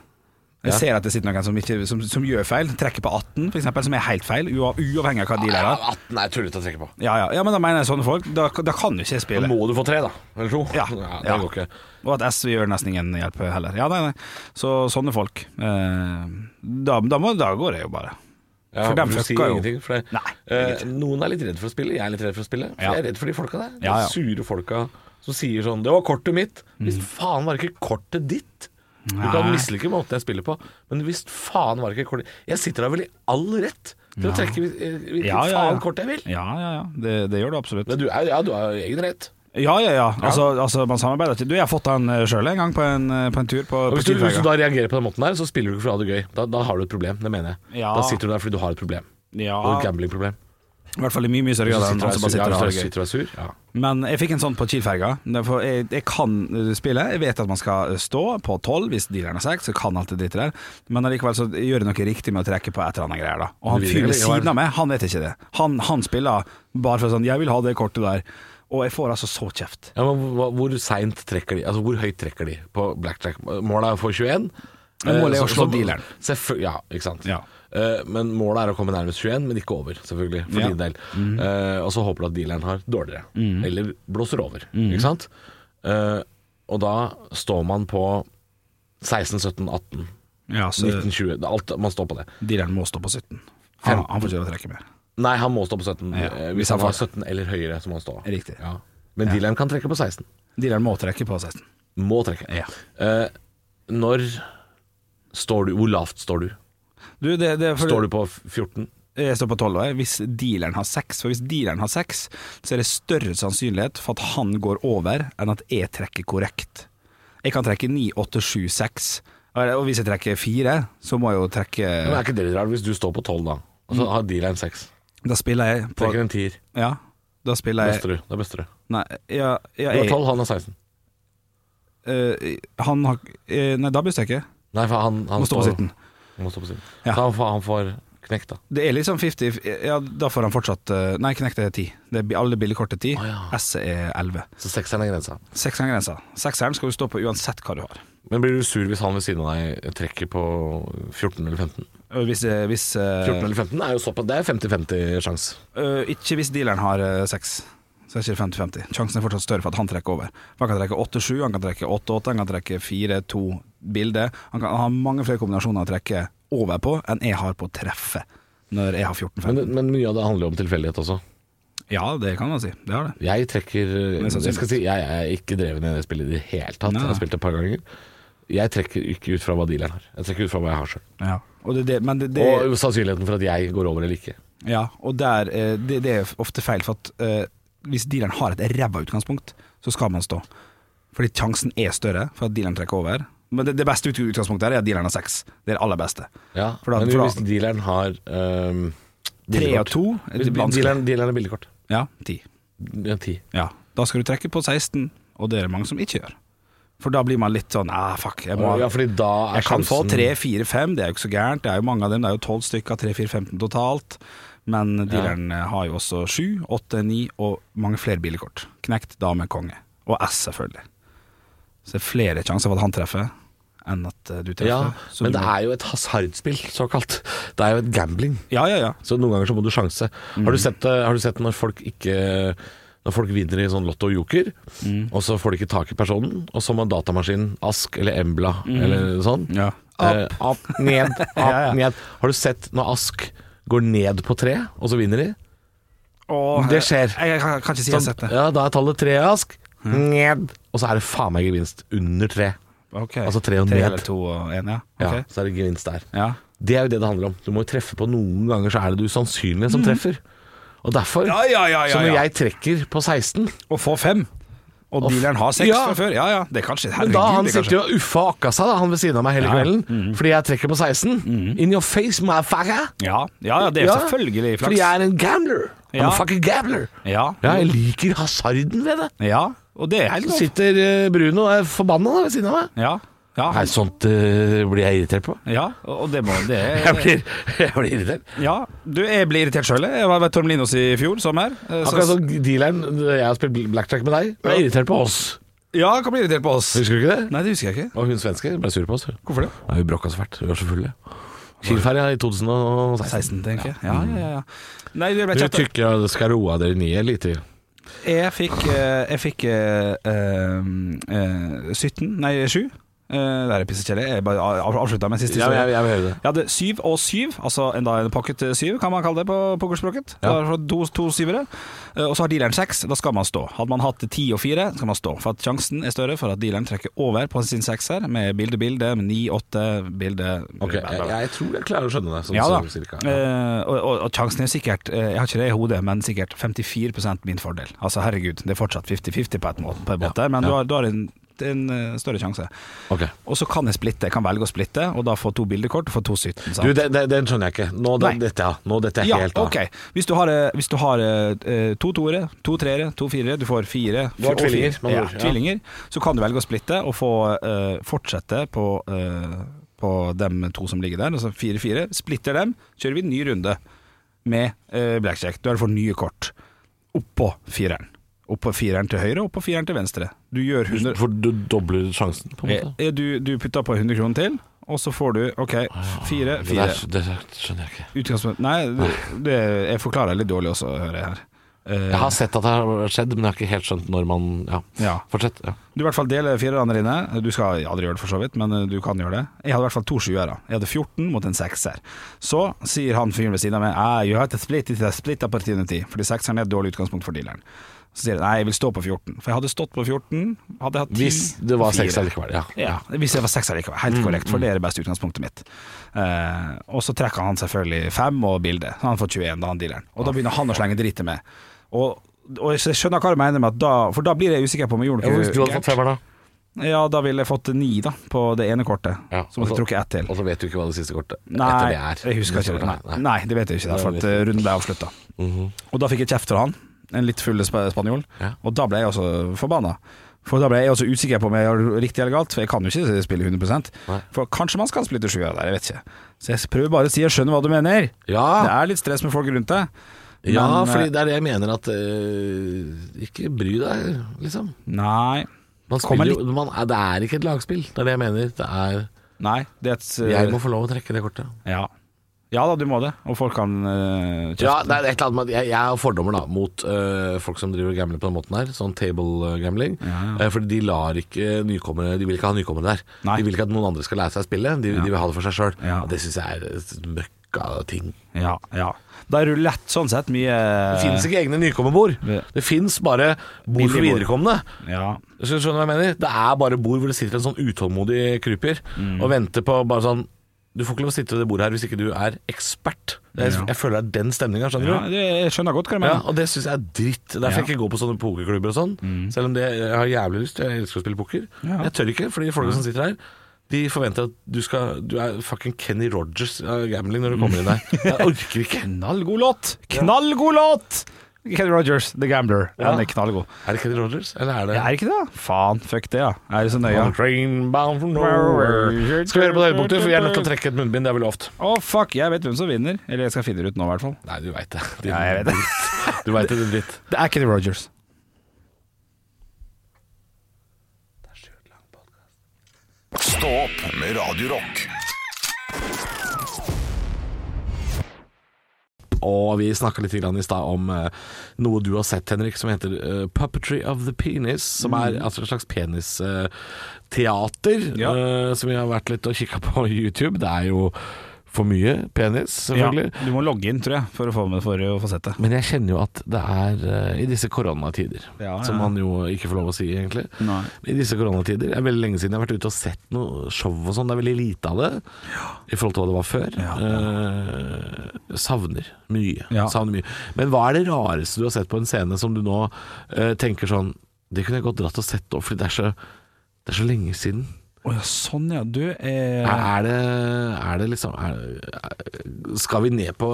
Speaker 4: Jeg
Speaker 3: Ja.
Speaker 4: ser at det sitter noen som, ikke, som, som gjør feil. Trekker på 18, f.eks., som er helt feil, ua- uavhengig av hva de er.
Speaker 3: 18 er tullete å trekke på.
Speaker 4: Ja, ja. ja, men da mener jeg sånne folk. Da, da kan jo ikke jeg
Speaker 3: Da
Speaker 4: spille.
Speaker 3: må du få tre, da. Eller to.
Speaker 4: Ja,
Speaker 3: det
Speaker 4: ja.
Speaker 3: går ikke.
Speaker 4: Og at SV gjør nesten ingen hjelp heller. Ja, nei, nei. Så sånne folk eh, da, da, må, da går det jo bare.
Speaker 3: Ja,
Speaker 4: For dem
Speaker 3: du
Speaker 4: fucka
Speaker 3: sier
Speaker 4: jo.
Speaker 3: ingenting, For det,
Speaker 4: Nei,
Speaker 3: eh, noen er litt redd for å spille, jeg er litt redd for å spille. For
Speaker 4: Ja.
Speaker 3: Jeg er redd for de folka der. De
Speaker 4: Ja, ja.
Speaker 3: sure folka som sier sånn 'Det var kortet mitt'. Hvis faen var det ikke kortet ditt. Du kan
Speaker 4: Nei.
Speaker 3: mislike måten jeg spiller på, men hvis faen var det ikke kortet Jeg sitter da vel i all rett til å trekke hvil- eh, hvilket
Speaker 4: Ja, ja, ja.
Speaker 3: faen kort jeg vil.
Speaker 4: Ja, ja, ja. Det, det gjør du absolutt.
Speaker 3: Men du er, ja, du har jo egen rett.
Speaker 4: Ja, ja, ja. Altså, altså man samarbeider ikke. Du, jeg har fått han sjøl en gang på en, eh, på en tur på,
Speaker 3: Og
Speaker 4: på
Speaker 3: hvis du, hvis du
Speaker 4: Kielferga.
Speaker 3: da reagerer på den måten der, så spiller du ikke for å ha det gøy. Da, da har du et problem, det mener jeg.
Speaker 4: Ja.
Speaker 3: Da sitter du der fordi du har et problem. Du har
Speaker 4: Ja,
Speaker 3: et gamblingproblem.
Speaker 4: I hvert fall i mye mye større grad enn han som bare
Speaker 3: Sitter
Speaker 4: sitter
Speaker 3: du
Speaker 4: og har
Speaker 3: der
Speaker 4: det gøy.
Speaker 3: sitter du og er sur? Ja.
Speaker 4: Men jeg fikk en sånn på Kiel-ferga. Derfor Jeg, jeg kan eh, spille. Jeg vet at man skal eh, stå på tolv hvis dealeren har sagt, så kan alt det drittet der. Men allikevel så gjør jeg noe riktig med å trekke på et eller annet greier, da. Og han
Speaker 3: Du vil
Speaker 4: fyren ved
Speaker 3: ikke, eller?
Speaker 4: siden av meg, han vet ikke det. Han, han spiller bare for sånn 'jeg vil ha det kortet der'. Og jeg får altså så kjeft.
Speaker 3: Ja, men hva- Hvor seint trekker de? Altså Hvor høyt trekker de på blackjack? Målet er å få 21.
Speaker 4: Men målet er
Speaker 3: Eh,
Speaker 4: å
Speaker 3: så-
Speaker 4: slå
Speaker 3: så-
Speaker 4: dealeren.
Speaker 3: Selvfø- ja, ikke sant.
Speaker 4: Ja.
Speaker 3: Eh, men målet er å komme nærmest 21, men ikke over, selvfølgelig. For
Speaker 4: Ja.
Speaker 3: din
Speaker 4: Mhm.
Speaker 3: del. Eh, og så håper du at dealeren har dårligere, eller blåser over.
Speaker 4: Mhm.
Speaker 3: Ikke sant? Eh, og da står man på 16, 17, 18,
Speaker 4: Ja, så
Speaker 3: 19, 20 det er alt, Man står på det.
Speaker 4: dealeren må stå på 17. Han, han får ikke lov til å trekke mer.
Speaker 3: Nei, han må stå på 17.
Speaker 4: Ja,
Speaker 3: eh,
Speaker 4: hvis
Speaker 3: hvis
Speaker 4: han
Speaker 3: han
Speaker 4: får
Speaker 3: har
Speaker 4: det.
Speaker 3: 17 eller høyere, så må han stå.
Speaker 4: Riktig.
Speaker 3: Ja. Men dealeren kan trekke på 16.
Speaker 4: Dealeren må trekke på 16.
Speaker 3: Må trekke.
Speaker 4: Ja.
Speaker 3: Eh, når står du Hvor lavt står du?
Speaker 4: Du, det, det, for,
Speaker 3: Står du på 14?
Speaker 4: Jeg står Eh, på 12 år. Hvis dealeren har seks, for hvis dealeren har seks, så er det større sannsynlighet for at han går over, enn at jeg trekker korrekt. Jeg kan trekke 9, 8, 7, 6. Eh, Og hvis jeg trekker 4, så må jeg jo trekke
Speaker 3: Men er ikke det litt rart hvis du står på 12 da, og så har dealeren 6?
Speaker 4: Da spiller jeg på
Speaker 3: Trekker en tier.
Speaker 4: Ja, da spiller jeg
Speaker 3: Bøster du. Det er bøster du.
Speaker 4: Nei, ja, ja
Speaker 3: Du har
Speaker 4: jeg,
Speaker 3: 12, han har 16.
Speaker 4: eh, Han har eh, Nei, da bøster jeg ikke.
Speaker 3: Nei, for han, han
Speaker 4: Må stå på 17.
Speaker 3: Han Må stå på 17.
Speaker 4: Ja.
Speaker 3: Så han får, han får knekt, da.
Speaker 4: Det er liksom 50 Ja, da får han fortsatt eh, Nei, Knekt er 10. Det er, alle billigkort er 10.
Speaker 3: Å, ja.
Speaker 4: S er 11.
Speaker 3: Så sekseren er grensa.
Speaker 4: Sekseren-grensa. Sekseren skal du stå på uansett hva du har.
Speaker 3: Men blir du sur hvis han ved siden av deg trekker på 14 eller 15?
Speaker 4: Og Hvis, eh, hvis, eh,
Speaker 3: 14 eller 15 er jo såpass Det er 50-50 sjanse.
Speaker 4: øh, ikke hvis dealeren har øh, sex. Så er det ikke 50-50. Sjansen er fortsatt større for at han trekker over. For Han kan trekke 8-7, han kan trekke 8-8, han kan trekke 4-2 bilde. Han kan ha mange flere kombinasjoner å trekke over på enn jeg har på å treffe når jeg har 14-5.
Speaker 3: Men, men mye av det handler jo om tilfeldighet også.
Speaker 4: Ja, det kan man si. Det har det.
Speaker 3: Jeg trekker
Speaker 4: Men
Speaker 3: jeg,
Speaker 4: sannsynlig.
Speaker 3: skal si, jeg er ikke dreven i det spillet i det hele tatt.
Speaker 4: Nei.
Speaker 3: Jeg har spilt det et par ganger. Jeg trekker ikke ut fra hva dealeren har. Jeg trekker ut fra hva jeg har sjøl.
Speaker 4: Ja. Og det, det, men det, det
Speaker 3: Og sannsynligheten for at jeg går over eller ikke.
Speaker 4: Ja, og der, eh, det, det er ofte feil, for at eh, hvis dealeren har et ræva utgangspunkt, så skal man stå. Fordi sjansen er større for at dealeren trekker over. Men det, det beste ut- utgangspunktet her er at dealeren har seks. Det er det aller beste.
Speaker 3: Ja,
Speaker 4: For da-
Speaker 3: men
Speaker 4: for da-
Speaker 3: hvis dealeren har um,
Speaker 4: Tre og to er
Speaker 3: Hvis
Speaker 4: det vanskelig.
Speaker 3: dealeren, dealeren er billigkort.
Speaker 4: Ja, ti.
Speaker 3: Ja, ti.
Speaker 4: Ja. Da skal du trekke på 16, og det er det mange som ikke gjør. For da blir man litt sånn ah, fuck. Jeg, må,
Speaker 3: Ja, fordi da er
Speaker 4: jeg kan få
Speaker 3: sjansen-
Speaker 4: tre, fire, fem, det er jo ikke så gærent. Det er jo mange av dem, det er jo tolv stykker, tre, fire, 15 totalt. Men dealeren eh, har jo også sju, åtte, ni og mange flere bilkort. Knekt, dame, konge. Og S, selvfølgelig. Så det er flere sjanser for at han treffer enn at eh, du treffer.
Speaker 3: Ja,
Speaker 4: Så
Speaker 3: men
Speaker 4: du
Speaker 3: det
Speaker 4: må-
Speaker 3: er jo et hasardspill, såkalt. Det er jo et gambling.
Speaker 4: Ja, ja, ja.
Speaker 3: Så noen ganger så må du sjanse.
Speaker 4: Mm.
Speaker 3: Har, du sett, eh, har du sett når folk ikke Når folk vinner i sånn Lotto og Joker,
Speaker 4: Mm.
Speaker 3: og så får de ikke tak i personen, og så må datamaskinen Ask eller Embla eller sånn
Speaker 4: Mm. Ja.
Speaker 3: eh, Opp, ned, opp,
Speaker 4: Ja, ja.
Speaker 3: ned. Har du sett når Ask går ned på tre, og så vinner de?
Speaker 4: Og,
Speaker 3: Det skjer. Sånn-
Speaker 4: Jeg, jeg kan kan ikke si jeg har sett det. Mm.
Speaker 3: ja, da er tallet tre, Ask. Ned. Og så er det faen meg gevinst under tre.
Speaker 4: Ok.
Speaker 3: Altså tre og ned.
Speaker 4: eller to og en, ja.
Speaker 3: Ja,
Speaker 4: Ok.
Speaker 3: Så er det gevinst der.
Speaker 4: Ja.
Speaker 3: Det er jo det det handler om. Du må jo treffe på noen ganger, så er det det usannsynlige som treffer. Og derfor
Speaker 4: Mhm. Ja, ja, ja, ja,
Speaker 3: Så når
Speaker 4: ja.
Speaker 3: jeg trekker på 16
Speaker 4: Og få fem. Og dealeren har seks
Speaker 3: Ja.
Speaker 4: fra før. Ja ja, det kan skje.
Speaker 3: Men da
Speaker 4: Herregud,
Speaker 3: han
Speaker 4: det kan
Speaker 3: sitter jo og uffa og akka seg, da, han ved siden av meg hele
Speaker 4: Ja. Mhm.
Speaker 3: kvelden. Fordi jeg trekker på 16. In your face, my fucker.
Speaker 4: skje. ja. ja ja, det er
Speaker 3: Fordi
Speaker 4: selvfølgelig flaks.
Speaker 3: jeg er en gambler. I'm
Speaker 4: Ja.
Speaker 3: a fucking gambler.
Speaker 4: Ja.
Speaker 3: Ja, jeg liker hasarden ved det.
Speaker 4: ja, og det er helt
Speaker 3: Så
Speaker 4: lov.
Speaker 3: sitter eh, Bruno og er forbanna da, ved siden av meg.
Speaker 4: Ja. Ja,
Speaker 3: Nei, sånt eh, blir jeg irritert på.
Speaker 4: ja, og det må det
Speaker 3: Jeg blir, jeg blir irritert.
Speaker 4: Ja, du, jeg blir irritert sjøl. Jeg var ved Torm Linos i fjor sommer. eh, så-
Speaker 3: eh, Akkurat som dealeren jeg har spilt blackjack med deg, ble irritert på oss.
Speaker 4: Ja, kan bli irritert på oss.
Speaker 3: Husker du ikke det?
Speaker 4: Nei, det husker jeg ikke.
Speaker 3: Og hun svenske ble sur på oss. Nei,
Speaker 4: Hvorfor det?
Speaker 3: hun bråka så fælt. Hun var så full. ja. Kielferja i 2016.
Speaker 4: 16, tenker jeg. Ja, ja, ja. Nei, det ble
Speaker 3: Du
Speaker 4: kjapt.
Speaker 3: tykker jeg skal roe dere ned litt.
Speaker 4: Jeg fikk, eh, jeg fikk eh, eh, eh, 17, nei 7. Eh, det her er pissekjedelig. Jeg bare av- avslutta med siste historie.
Speaker 3: jeg vil høre det.
Speaker 4: Jeg hadde syv og syv, altså en, da en pocket syv, kan man kalle det på pokerspråket.
Speaker 3: Ja.
Speaker 4: Ja. To, to syvere. Eh, Og så har dealeren seks, da skal man stå. Hadde man hatt ti og fire, skal man stå. For at sjansen er større for at dealeren trekker over på sin sekser med bilde, bilde, med ni, åtte, bilde
Speaker 3: Ok, jeg, jeg tror jeg klarer å skjønne det. Sånn,
Speaker 4: Ja da.
Speaker 3: sånn cirka.
Speaker 4: Eh, og, og, og sjansen er sikkert eh, Jeg har ikke det i hodet, men sikkert 54 min fordel. Altså herregud, det er fortsatt 50-50 på, et må- på en måte, men
Speaker 3: ja.
Speaker 4: du har, du har en, en eh, større sjanse.
Speaker 3: Ok.
Speaker 4: Og så kan jeg splitte, jeg kan velge å splitte, og da få to bildekort og få to 17. sant?
Speaker 3: Du, den, den- den skjønner jeg ikke. Nå, den,
Speaker 4: Nei.
Speaker 3: dette, ja. Nå, dette er
Speaker 4: ja,
Speaker 3: helt av.
Speaker 4: ok. Hvis du har, eh, hvis du har eh, to toere, to treere, to firere, du får fire
Speaker 3: Du har
Speaker 4: og
Speaker 3: tvillinger,
Speaker 4: fire.
Speaker 3: med andre
Speaker 4: Ja,
Speaker 3: ord, ja.
Speaker 4: tvillinger. Så kan du velge å splitte og få eh, fortsette på, eh, på dem to som ligger der, altså fire-fire. Splitter dem, kjører vi en ny runde med eh, blackjack. Du er for nye kort. Oppå fireren. Oppå fireren til høyre, oppå fireren til venstre. Du gjør 100
Speaker 3: For du dobler sjansen, på en måte.
Speaker 4: Eh, Du, du putter på 100 kroner til, og så får du OK, Eh, fire,
Speaker 3: Det
Speaker 4: fire.
Speaker 3: der, det der skjønner jeg ikke.
Speaker 4: Utgangspunkt Nei, det- det, jeg forklarer litt dårlig også, hører jeg her. Eh,
Speaker 3: Jeg har sett at det har skjedd, men jeg har ikke helt skjønt når man Ja,
Speaker 4: Ja.
Speaker 3: fortsett. Ja.
Speaker 4: Du i hvert fall deler firerne dine. Du skal aldri gjøre det, for så vidt, men eh, du kan gjøre det. Jeg hadde i hvert fall to sjuere. Jeg hadde 14 mot en sekser. Så sier han fyren ved siden av meg «Ah, You have to split it, it's a split opportunity, fordi sekseren er et dårlig utgangspunkt for dealeren. Så sier han nei, jeg vil stå på 14. For jeg hadde stått på 14, hadde jeg hatt 10
Speaker 3: Hvis det var seks
Speaker 4: fire.
Speaker 3: allikevel, ja.
Speaker 4: Ja, hvis jeg var sekser likevel.
Speaker 3: Mm,
Speaker 4: Helt korrekt, for det er det beste utgangspunktet mitt. Eh, og så trekker han selvfølgelig fem og bildet. Han får 21, da, han dealeren. Og da begynner han å slenge dritet med. Og, og jeg skjønner hva du mener med at da For da blir jeg usikker på om jeg gjorde
Speaker 3: Ja,
Speaker 4: noe
Speaker 3: Hvis du hadde
Speaker 4: gærent.
Speaker 3: fått femmer, da?
Speaker 4: Ja, da ville jeg fått ni, da, på det ene kortet.
Speaker 3: Ja, altså-
Speaker 4: så
Speaker 3: og
Speaker 4: måtte jeg
Speaker 3: så-
Speaker 4: trukket ett til.
Speaker 3: Og så vet du ikke hva det siste kortet
Speaker 4: Nei,
Speaker 3: etter det er.
Speaker 4: jeg husker ikke. det.
Speaker 3: Nei,
Speaker 4: Nei, nei, det vet jeg ikke,
Speaker 3: Det
Speaker 4: for
Speaker 3: vet
Speaker 4: at eh, runden ble avslutta. Og da fikk jeg kjeft fra han, en litt full spa- spanjol,
Speaker 3: Ja.
Speaker 4: og da ble jeg også forbanna. For da ble jeg også usikker på om jeg gjør riktig eller galt, for jeg kan jo ikke spille 100
Speaker 3: Nei.
Speaker 4: For kanskje man skal splitte sjuere der, jeg vet ikke. Så jeg prøver bare å si jeg skjønner hva du mener.
Speaker 3: Ja.
Speaker 4: Det er litt stress med folk rundt deg.
Speaker 3: Ja,
Speaker 4: Men, eh,
Speaker 3: fordi det er det jeg mener at eh, Ikke bry deg, liksom.
Speaker 4: Nei.
Speaker 3: Man
Speaker 4: Kommer
Speaker 3: spiller jo, man, det er ikke et lagspill. Det er det jeg mener. Det er,
Speaker 4: Nei, det er et eh,
Speaker 3: jeg må få lov å trekke det kortet.
Speaker 4: ja. ja da, du må det. Og folk kan eh, kjefte.
Speaker 3: Ja, det er et eller annet med at jeg, jeg har fordommer da mot øh, folk som driver og gambler på den måten her, sånn table gambling. Eh, fordi de lar ikke nykommere De vil ikke ha nykommere der.
Speaker 4: Nei.
Speaker 3: De vil ikke at noen andre skal lære seg spillet, de, de vil ha det for seg sjøl.
Speaker 4: Ja.
Speaker 3: Det syns jeg er et møkka ting.
Speaker 4: Ja, ja. Da er rulett sånn sett mye
Speaker 3: Det fins ikke egne nykommerbord.
Speaker 4: Ja.
Speaker 3: Det fins bare bord for
Speaker 4: Eh. Billigbord.
Speaker 3: viderekomne.
Speaker 4: Ja.
Speaker 3: Skal du skjønne hva jeg mener? Det er bare bord hvor det sitter en sånn utålmodig kryper
Speaker 4: Mm.
Speaker 3: og venter på bare sånn Du får ikke lov å sitte ved det bordet her hvis ikke du er ekspert. Jeg,
Speaker 4: Ja.
Speaker 3: jeg føler det er den stemninga, skjønner
Speaker 4: ja,
Speaker 3: du?
Speaker 4: det, jeg skjønner godt hva du
Speaker 3: Ja,
Speaker 4: mener.
Speaker 3: og det syns jeg er dritt. Derfor jeg ikke går på sånne pokerklubber og sånn. Selv om det jeg har jævlig lyst. Jeg elsker å spille poker.
Speaker 4: Mm. Ja.
Speaker 3: Jeg tør ikke, fordi folka som sitter her de forventer at du skal Du er fucking Kenny Rogers av gambling når du kommer inn der. Jeg orker ikke.
Speaker 4: Knallgod låt! Knallgod låt! Kenny Rogers, The Gambler.
Speaker 3: Ja.
Speaker 4: Han er knallgod.
Speaker 3: Er det Kenny Rogers, eller er det
Speaker 4: Er det ikke det? da? Faen, fuck det, ja. Er det så nøye?
Speaker 3: On
Speaker 4: ja?
Speaker 3: a train bound for nowhere. Skal vi høre på det høydepunktet, for jeg er nødt til å trekke et munnbind. Det er vel lovt.
Speaker 4: Å, fuck, jeg vet hvem som vinner. Eller jeg skal finne det ut nå, i hvert fall.
Speaker 3: Nei, du veit det. Din-
Speaker 4: Ja, jeg vet det.
Speaker 3: Du veit det, din dritt.
Speaker 4: Det er Kenny Rogers.
Speaker 1: Stå opp med Radio Rock.
Speaker 3: Og vi snakka litt grann i stad om eh, noe du har sett, Henrik, som heter eh, Puppetry of the Penis. Som er altså et slags penisteater
Speaker 4: Ja.
Speaker 3: som vi har vært litt og kikka på YouTube. Det er jo for mye penis, selvfølgelig.
Speaker 4: Ja, du må logge inn, tror jeg, for å få, med, for å få sett det.
Speaker 3: Men jeg kjenner jo at det er eh, i disse koronatider,
Speaker 4: Ja, ja.
Speaker 3: som man jo ikke får lov å si egentlig
Speaker 4: Nei.
Speaker 3: I disse koronatider, det er veldig lenge siden jeg har vært ute og sett noe show og sånn. Det er veldig lite av det i forhold til hva det var før. Eh, savner mye.
Speaker 4: Ja.
Speaker 3: savner mye. Men hva er det rareste du har sett på en scene som du nå eh, tenker sånn Det kunne jeg godt dratt og sett opp, fordi det er så, det er så lenge siden.
Speaker 4: Å ja, sånn ja. Du
Speaker 3: Er,
Speaker 4: er
Speaker 3: er, det, er det liksom er, er, Skal vi ned på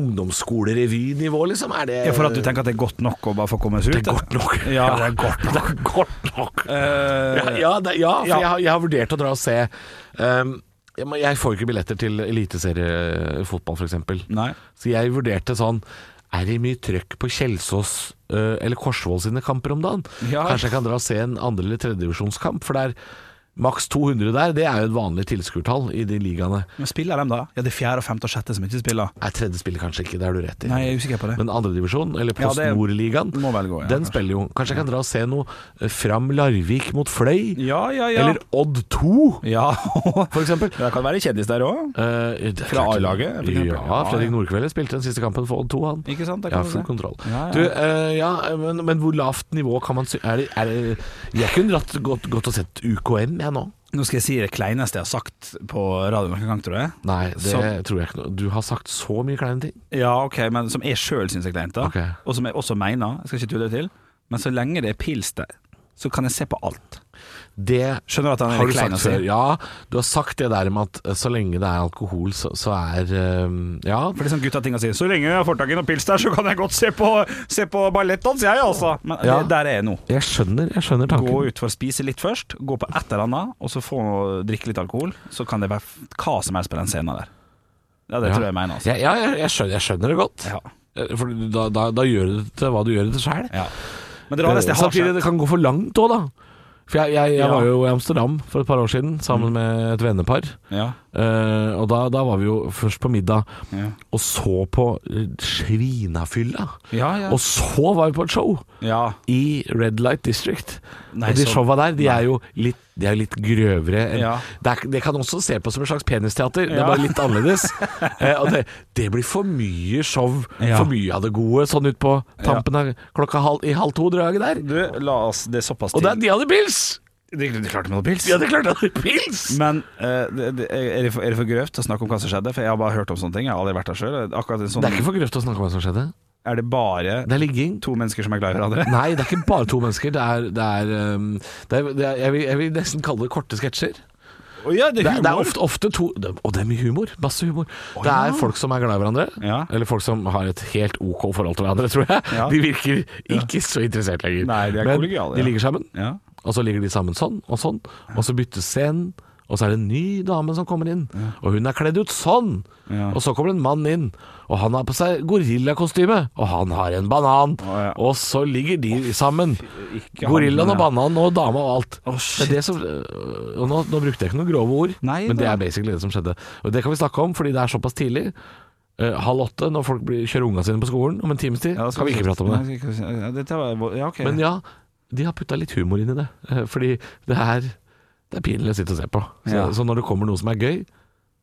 Speaker 3: ungdomsskolerevynivå, liksom? Er det
Speaker 4: ja, For at du tenker at det er godt nok å bare få komme seg ut?
Speaker 3: Det er godt nok.
Speaker 4: Ja, det er godt
Speaker 3: Det er godt nok.
Speaker 4: Eh,
Speaker 3: Ja, ja, det, ja for
Speaker 4: ja.
Speaker 3: Jeg, har, jeg har vurdert å dra og se. Um, jeg, men jeg får jo ikke billetter til eliteseriefotball, f.eks.
Speaker 4: Nei.
Speaker 3: Så jeg vurderte sånn er det mye trøkk på Kjelsås eh, eller Korsvoll sine kamper om dagen?
Speaker 4: Ja.
Speaker 3: Kanskje jeg kan dra og se en andre- eller tredjedivisjonskamp? For det er maks 200 der, det er jo et vanlig tilskuertall i de ligaene.
Speaker 4: Men spiller de da? Ja, det er fjerde, femte og sjette som ikke spiller.
Speaker 3: Er tredje spiller kanskje ikke, det har du rett i.
Speaker 4: Nei, jeg er usikker på det.
Speaker 3: Men andredivisjon, eller
Speaker 4: Ja,
Speaker 3: Post
Speaker 4: det
Speaker 3: Nord-ligaen,
Speaker 4: må vel gå, ja,
Speaker 3: den
Speaker 4: kanskje.
Speaker 3: spiller jo. Kanskje jeg kan dra og se noe eh, Fram Larvik mot Fløy?
Speaker 4: Ja, ja, ja.
Speaker 3: Eller Odd 2,
Speaker 4: ja.
Speaker 3: for eksempel.
Speaker 4: Det kan være kjendis der òg.
Speaker 3: Eh, det er
Speaker 4: Fra
Speaker 3: klart-
Speaker 4: A-laget, for eksempel.
Speaker 3: Ja, Fredrik Nordkveldet spilte den siste kampen for Odd 2, han.
Speaker 4: Ikke sant, da kan
Speaker 3: Ja,
Speaker 4: du
Speaker 3: full
Speaker 4: se.
Speaker 3: kontroll.
Speaker 4: Ja, ja.
Speaker 3: Du, eh, ja, men, men hvor lavt nivå kan man sy... Er det, er det, jeg kunne dratt godt, godt og sett UKM, jeg nå.
Speaker 4: Nå skal jeg si det kleineste jeg har sagt på radioen noen gang, tror jeg.
Speaker 3: Nei, det
Speaker 4: Som-
Speaker 3: tror jeg ikke noe Du har sagt så mye kleine ting.
Speaker 4: Ja, ok, men som jeg sjøl syns er kleint, da.
Speaker 3: Ok.
Speaker 4: Og som jeg også mener. Jeg skal ikke tulle det til. Men så lenge det er pils der, så kan jeg se på alt.
Speaker 3: Det
Speaker 4: Skjønner du at han
Speaker 3: Har
Speaker 4: er
Speaker 3: du
Speaker 4: klein
Speaker 3: sagt
Speaker 4: å
Speaker 3: før?
Speaker 4: si?
Speaker 3: Ja, du har sagt det der med at eh, så lenge det er alkohol, så, så er eh, Ja.
Speaker 4: For det er sånn gutta-ting å si. Så lenge jeg får tak i noe pils der, så kan jeg godt se på, se på ballettdans, jeg, altså. Men
Speaker 3: Ja.
Speaker 4: det, der er jeg nå.
Speaker 3: Jeg skjønner, jeg skjønner tanken.
Speaker 4: Gå ut for å spise litt først, gå på et eller annet, og så få drikke litt alkohol. Så kan det være f- hva som helst på den scenen der. Ja, det
Speaker 3: Ja.
Speaker 4: tror jeg jeg mener, altså.
Speaker 3: Ja, ja, jeg, jeg, skjønner, jeg skjønner det godt.
Speaker 4: Ja.
Speaker 3: Eh, For da, da, da gjør du det til hva du gjør det til Eh, sjæl.
Speaker 4: Ja. Men det rareste jeg har
Speaker 3: Samtidig
Speaker 4: sett
Speaker 3: det kan gå for langt òg, da. For jeg, jeg, jeg
Speaker 4: Ja.
Speaker 3: var jo i Amsterdam for et par år siden sammen med et vennepar.
Speaker 4: ja.
Speaker 3: Eh, og da, da var vi jo først på middag
Speaker 4: Ja.
Speaker 3: og så på eh, svinafylla.
Speaker 4: Ja, ja.
Speaker 3: Og så var vi på et show.
Speaker 4: ja.
Speaker 3: i Red Light District.
Speaker 4: Nei,
Speaker 3: og de
Speaker 4: så-
Speaker 3: showa der, de er jo litt, de er jo litt grøvere. enn-
Speaker 4: Ja.
Speaker 3: Det, er, det kan også se på som en slags penisteater, det er
Speaker 4: Ja.
Speaker 3: bare litt annerledes. eh, og det, det blir for mye show,
Speaker 4: Ja.
Speaker 3: for mye av det gode, sånn ut på tampen av klokka halv, i halv to-draget der.
Speaker 4: Du, la oss det er såpass
Speaker 3: Og der, de hadde pils!
Speaker 4: Det er klart med noe pils.
Speaker 3: De hadde klart å ha pils!
Speaker 4: Men eh, det, det, er, det for, er det for grøvt å snakke om hva som skjedde? For jeg har bare hørt om sånne ting. Jeg har aldri vært der sjøl. Akkurat en sånn
Speaker 3: Det er ikke for grøft å snakke om hva som skjedde.
Speaker 4: Er det bare
Speaker 3: Det er ligging.
Speaker 4: to mennesker som er glad i hverandre?
Speaker 3: Nei, det er ikke bare to mennesker. Det er, det er, um, det er, det er jeg, vil, jeg vil nesten kalle det korte sketsjer.
Speaker 4: Å ja, det
Speaker 3: Det,
Speaker 4: er
Speaker 3: det er
Speaker 4: humor!
Speaker 3: ofte, ofte to det, Og det er mye humor. Masse humor. det er folk som er glad i hverandre.
Speaker 4: Ja.
Speaker 3: Eller folk som har et helt ok forhold til hverandre, tror jeg.
Speaker 4: Ja.
Speaker 3: De virker ikke så interessert lenger.
Speaker 4: Nei, de er
Speaker 3: Men
Speaker 4: kollegiale,
Speaker 3: de
Speaker 4: ja.
Speaker 3: ligger sammen,
Speaker 4: Ja.
Speaker 3: og så ligger de sammen sånn og sånn, og så byttes scenen. Og så er det en ny dame som kommer inn, og hun er kledd ut sånn.
Speaker 4: Ja.
Speaker 3: Og så kommer det en mann inn, og han har på seg gorillakostyme, og han har en banan.
Speaker 4: Å, ja.
Speaker 3: Og så ligger de sammen.
Speaker 4: eh, Ikke han,
Speaker 3: Gorillaen og
Speaker 4: men-
Speaker 3: bananen og dama og alt.
Speaker 4: Å,
Speaker 3: det er det som, øh, og nå, nå brukte jeg ikke noen grove ord,
Speaker 4: Nei,
Speaker 3: men det
Speaker 4: da.
Speaker 3: er basically det som skjedde. Og Det kan vi snakke om, fordi det er såpass tidlig. Eh, halv åtte, når folk blir, kjører unga sine på skolen om en times tid,
Speaker 4: Ja,
Speaker 3: kan vi ikke prate om det.
Speaker 4: Nei, skal vi se. Ja, dette var, ja, ok.
Speaker 3: Men ja, de har putta litt humor inn i det. eh, fordi det er, det er pinlig å sitte og se på. Så,
Speaker 4: Ja.
Speaker 3: så når det kommer noe som er gøy,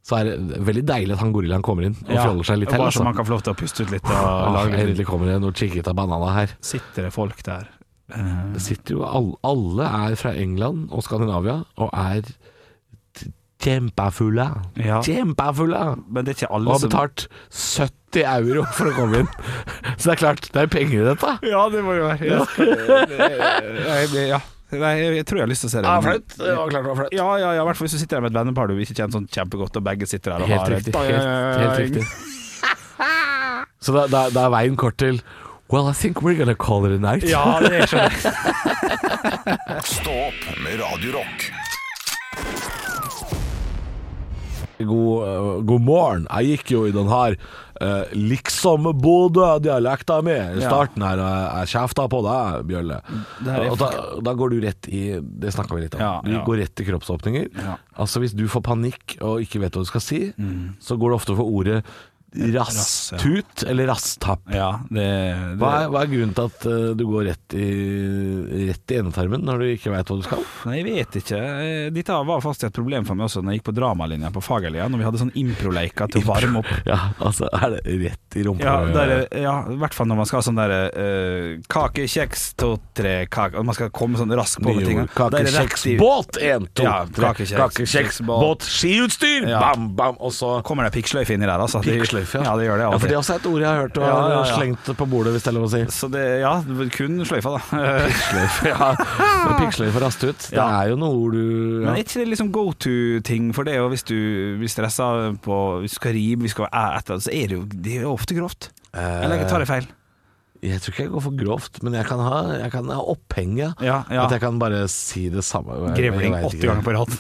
Speaker 3: så er det veldig deilig at han gorillaen kommer inn og fjoller seg litt til.
Speaker 4: Bare så
Speaker 3: altså.
Speaker 4: man kan få lov til å puste ut litt. Og
Speaker 3: Ah,
Speaker 4: lage litt.
Speaker 3: endelig kommer det noe chiquita banana her.
Speaker 4: Sitter det folk der? Eh,
Speaker 3: Det sitter jo alle, alle er fra England og Skandinavia og er t- kjempefulle.
Speaker 4: ja.
Speaker 3: Kjempefulle!
Speaker 4: Men det er ikke
Speaker 3: Og
Speaker 4: alle
Speaker 3: har betalt 70 euro for å komme inn. Så det er klart, det er penger i dette.
Speaker 4: Ja, det må jo være ja. Jeg- ja. Nei, jeg, jeg tror jeg har lyst til å se det. men-
Speaker 3: Det var klart det var flaut.
Speaker 4: Ja, ja, ja, i hvert fall hvis du sitter der med et vennepar du ikke kjenner sånn kjempegodt, og begge sitter der og
Speaker 3: Helt
Speaker 4: har
Speaker 3: riktig. Helt, helt riktig. Så da, da, da er veien kort til Well, I think we're gonna call it a night.
Speaker 4: Ja, det skjønner jeg.
Speaker 1: Stå opp med Radio Rock.
Speaker 3: God, eh, god morgen. Jeg gikk jo i den her eh, liksom Bodø-dialekta mi i
Speaker 4: Ja.
Speaker 3: starten her. og Jeg, jeg kjefta på deg, Bjølle.
Speaker 4: Det her er
Speaker 3: Og da, da går du rett i Det snakka vi litt om.
Speaker 4: Ja,
Speaker 3: du
Speaker 4: ja.
Speaker 3: går rett til kroppsåpninger.
Speaker 4: Ja. Mm.
Speaker 3: Altså Hvis du får panikk og ikke vet hva du skal si, så går du ofte for ordet
Speaker 4: Rass, ja.
Speaker 3: rasstut eller rasstapp.
Speaker 4: Ja, det, det
Speaker 3: Hva er, hva er grunnen til at eh, du går rett i, rett i endetarmen når du ikke veit hva du skal?
Speaker 4: Nei, jeg vet ikke. Eh, Dette var faktisk et problem for meg også Når jeg gikk på dramalinja på Fagerlia, når vi hadde sånn improleika til å varme opp.
Speaker 3: Ja, altså Er det rett i rumpa?
Speaker 4: Ja, der, er- ja, i hvert fall når man skal ha sånn derre eh, Kake, kjeks, to, tre, kake Og man skal komme sånn raskt på med tinga. Der er det rett i-
Speaker 3: Kakekjeksbåt, én, to,
Speaker 4: Ja,
Speaker 3: tre.
Speaker 4: kakekjeks-
Speaker 3: Kakekjeksbåt, skiutstyr,
Speaker 4: Ja.
Speaker 3: bam, bam, og så
Speaker 4: Kommer det piksløyfe inni der, altså? Det-
Speaker 3: Piksløyfe,
Speaker 4: ja. det gjør det
Speaker 3: Ja, for
Speaker 4: alltid.
Speaker 3: det er også et ord jeg har hørt og
Speaker 4: Ja, ja, ja.
Speaker 3: slengt på bordet, hvis det er lov å si.
Speaker 4: Så det, ja, kun sløyfa, da.
Speaker 3: Piksløyfe, ja. Men Piksløyfe og rasthut, det
Speaker 4: Ja.
Speaker 3: er jo noe ord du
Speaker 4: Men
Speaker 3: ja.
Speaker 4: er ikke det liksom go to-ting for det? Og hvis du blir stressa på Hvis du skal rime, vi skal være et eller annet, så er det jo det er jo ofte grovt. Eller jeg tar det feil?
Speaker 3: Jeg tror ikke jeg går for grovt, men jeg kan ha, jeg kan ha opphenget.
Speaker 4: Ja, ja.
Speaker 3: At jeg kan bare si det samme. Jeg- jeg
Speaker 4: Grevling
Speaker 3: vet ikke.
Speaker 4: 80 ganger på rad.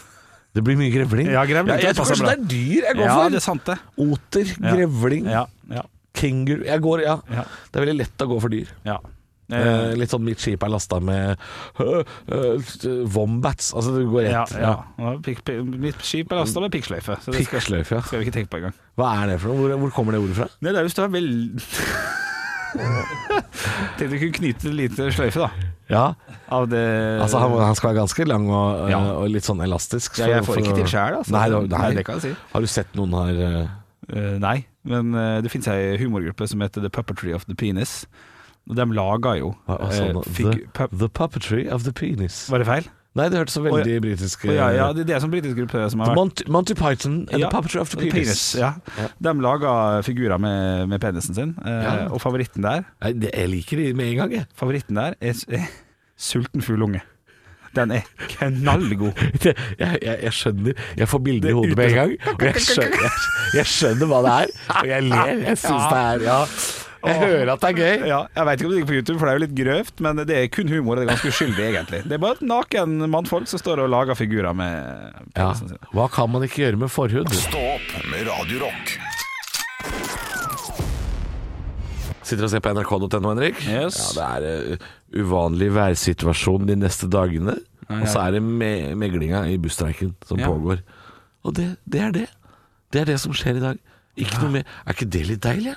Speaker 3: Det blir mye grevling.
Speaker 4: Ja, grevling
Speaker 3: jeg
Speaker 4: passer
Speaker 3: tror kanskje
Speaker 4: bra.
Speaker 3: det er dyr jeg går
Speaker 4: Ja,
Speaker 3: for.
Speaker 4: det er sant, det.
Speaker 3: Oter, grevling,
Speaker 4: Ja, ja.
Speaker 3: kenguru Jeg går, ja.
Speaker 4: Ja.
Speaker 3: Det er veldig lett å gå for dyr.
Speaker 4: Ja.
Speaker 3: Eh, litt sånn mitt skip er lasta med øh, øh, wombats. Altså det går
Speaker 4: ja,
Speaker 3: rett.
Speaker 4: ja. Og pik- pik- Mitt skip er lasta med pikksløyfe, så det skal,
Speaker 3: Pikksløyfe, ja.
Speaker 4: skal vi ikke tenke på engang.
Speaker 3: Hva er det for noe? Hvor, hvor kommer det ordet fra?
Speaker 4: Nei, det er jo større vel... Tenkte vi kunne knyte et lite sløyfe, da.
Speaker 3: Ja,
Speaker 4: Av det
Speaker 3: altså Han, han skal være ganske lang og,
Speaker 4: Ja.
Speaker 3: og litt sånn elastisk.
Speaker 4: Ja, jeg får ikke til sjæl, altså.
Speaker 3: Nei, da- nei.
Speaker 4: Nei, det kan jeg si.
Speaker 3: Har du sett noen har eh,
Speaker 4: Eh, nei, men eh, det finnes ei humorgruppe som heter The Puppetry of the Penis. Og de laga jo
Speaker 3: hva- hva sa
Speaker 4: eh,
Speaker 3: han?
Speaker 4: figu-
Speaker 3: the,
Speaker 4: pup-
Speaker 3: the puppetry of the penis.
Speaker 4: Var det feil?
Speaker 3: Nei, det hørtes så
Speaker 4: Å, ja.
Speaker 3: veldig britisk
Speaker 4: Å,
Speaker 3: ut.
Speaker 4: ja, ja, det det er en sånn britisk gruppe som har vært
Speaker 3: Monty, Monty Python and
Speaker 4: Ja,
Speaker 3: the puppetry of the penis.
Speaker 4: ja.
Speaker 3: Ja.
Speaker 4: De laga figurer med, med penisen sin, eh,
Speaker 3: Ja.
Speaker 4: og favoritten der
Speaker 3: Nei, det, jeg liker de med en gang, jeg.
Speaker 4: Favoritten der er, s- er sulten fugl unge. Den er knallgod.
Speaker 3: Det- Jeg, jeg, jeg skjønner Jeg får bilder i
Speaker 4: Det er
Speaker 3: hodet med en
Speaker 4: ute-
Speaker 3: gang, og jeg skjønner, jeg, jeg skjønner hva det er. Og jeg ler. Jeg syns det er Ja. Jeg hører at det er gøy.
Speaker 4: Ja, jeg vet ikke om det ligger på YouTube, for det er jo litt grøvt, men det er kun humor, og det er ganske uskyldig, egentlig. Det er bare et naken mannfolk som står og lager figurer med
Speaker 3: Ja.
Speaker 4: penisen sin.
Speaker 3: Hva kan man ikke gjøre med forhud?
Speaker 1: Stå opp med Radio Rock.
Speaker 3: Sitter og ser på nrk.no, Henrik.
Speaker 4: Yes.
Speaker 3: Ja, det er eh, uvanlig værsituasjon de neste dagene. Og så er det me meglinga i busstreiken som
Speaker 4: Ja.
Speaker 3: pågår. Og det, det er det. Det er det som skjer i dag. Ikke noe mer. Er ikke det litt deilig?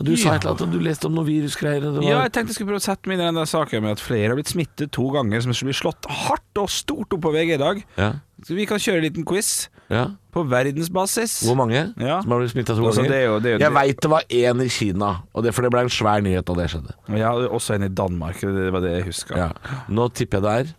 Speaker 3: Og Du sa
Speaker 4: Ja.
Speaker 3: et eller annet om du leste om noen virusgreier. og det var-
Speaker 4: Ja, jeg tenkte jeg skulle prøve å sette meg inn i den der saken med at flere har blitt smittet to ganger, som blir slått hardt og stort opp på VG i dag.
Speaker 3: ja.
Speaker 4: Så vi kan kjøre en liten quiz
Speaker 3: ja.
Speaker 4: på verdensbasis.
Speaker 3: Hvor mange
Speaker 4: Ja.
Speaker 3: som har blitt smitta to
Speaker 4: Altså,
Speaker 3: ganger?
Speaker 4: det er jo- det er jo-
Speaker 3: jeg veit det var én i Kina, og det, for det ble en svær nyhet da det skjedde.
Speaker 4: Ja, også en i Danmark, det var det jeg huska.
Speaker 3: Ja. Nå tipper jeg det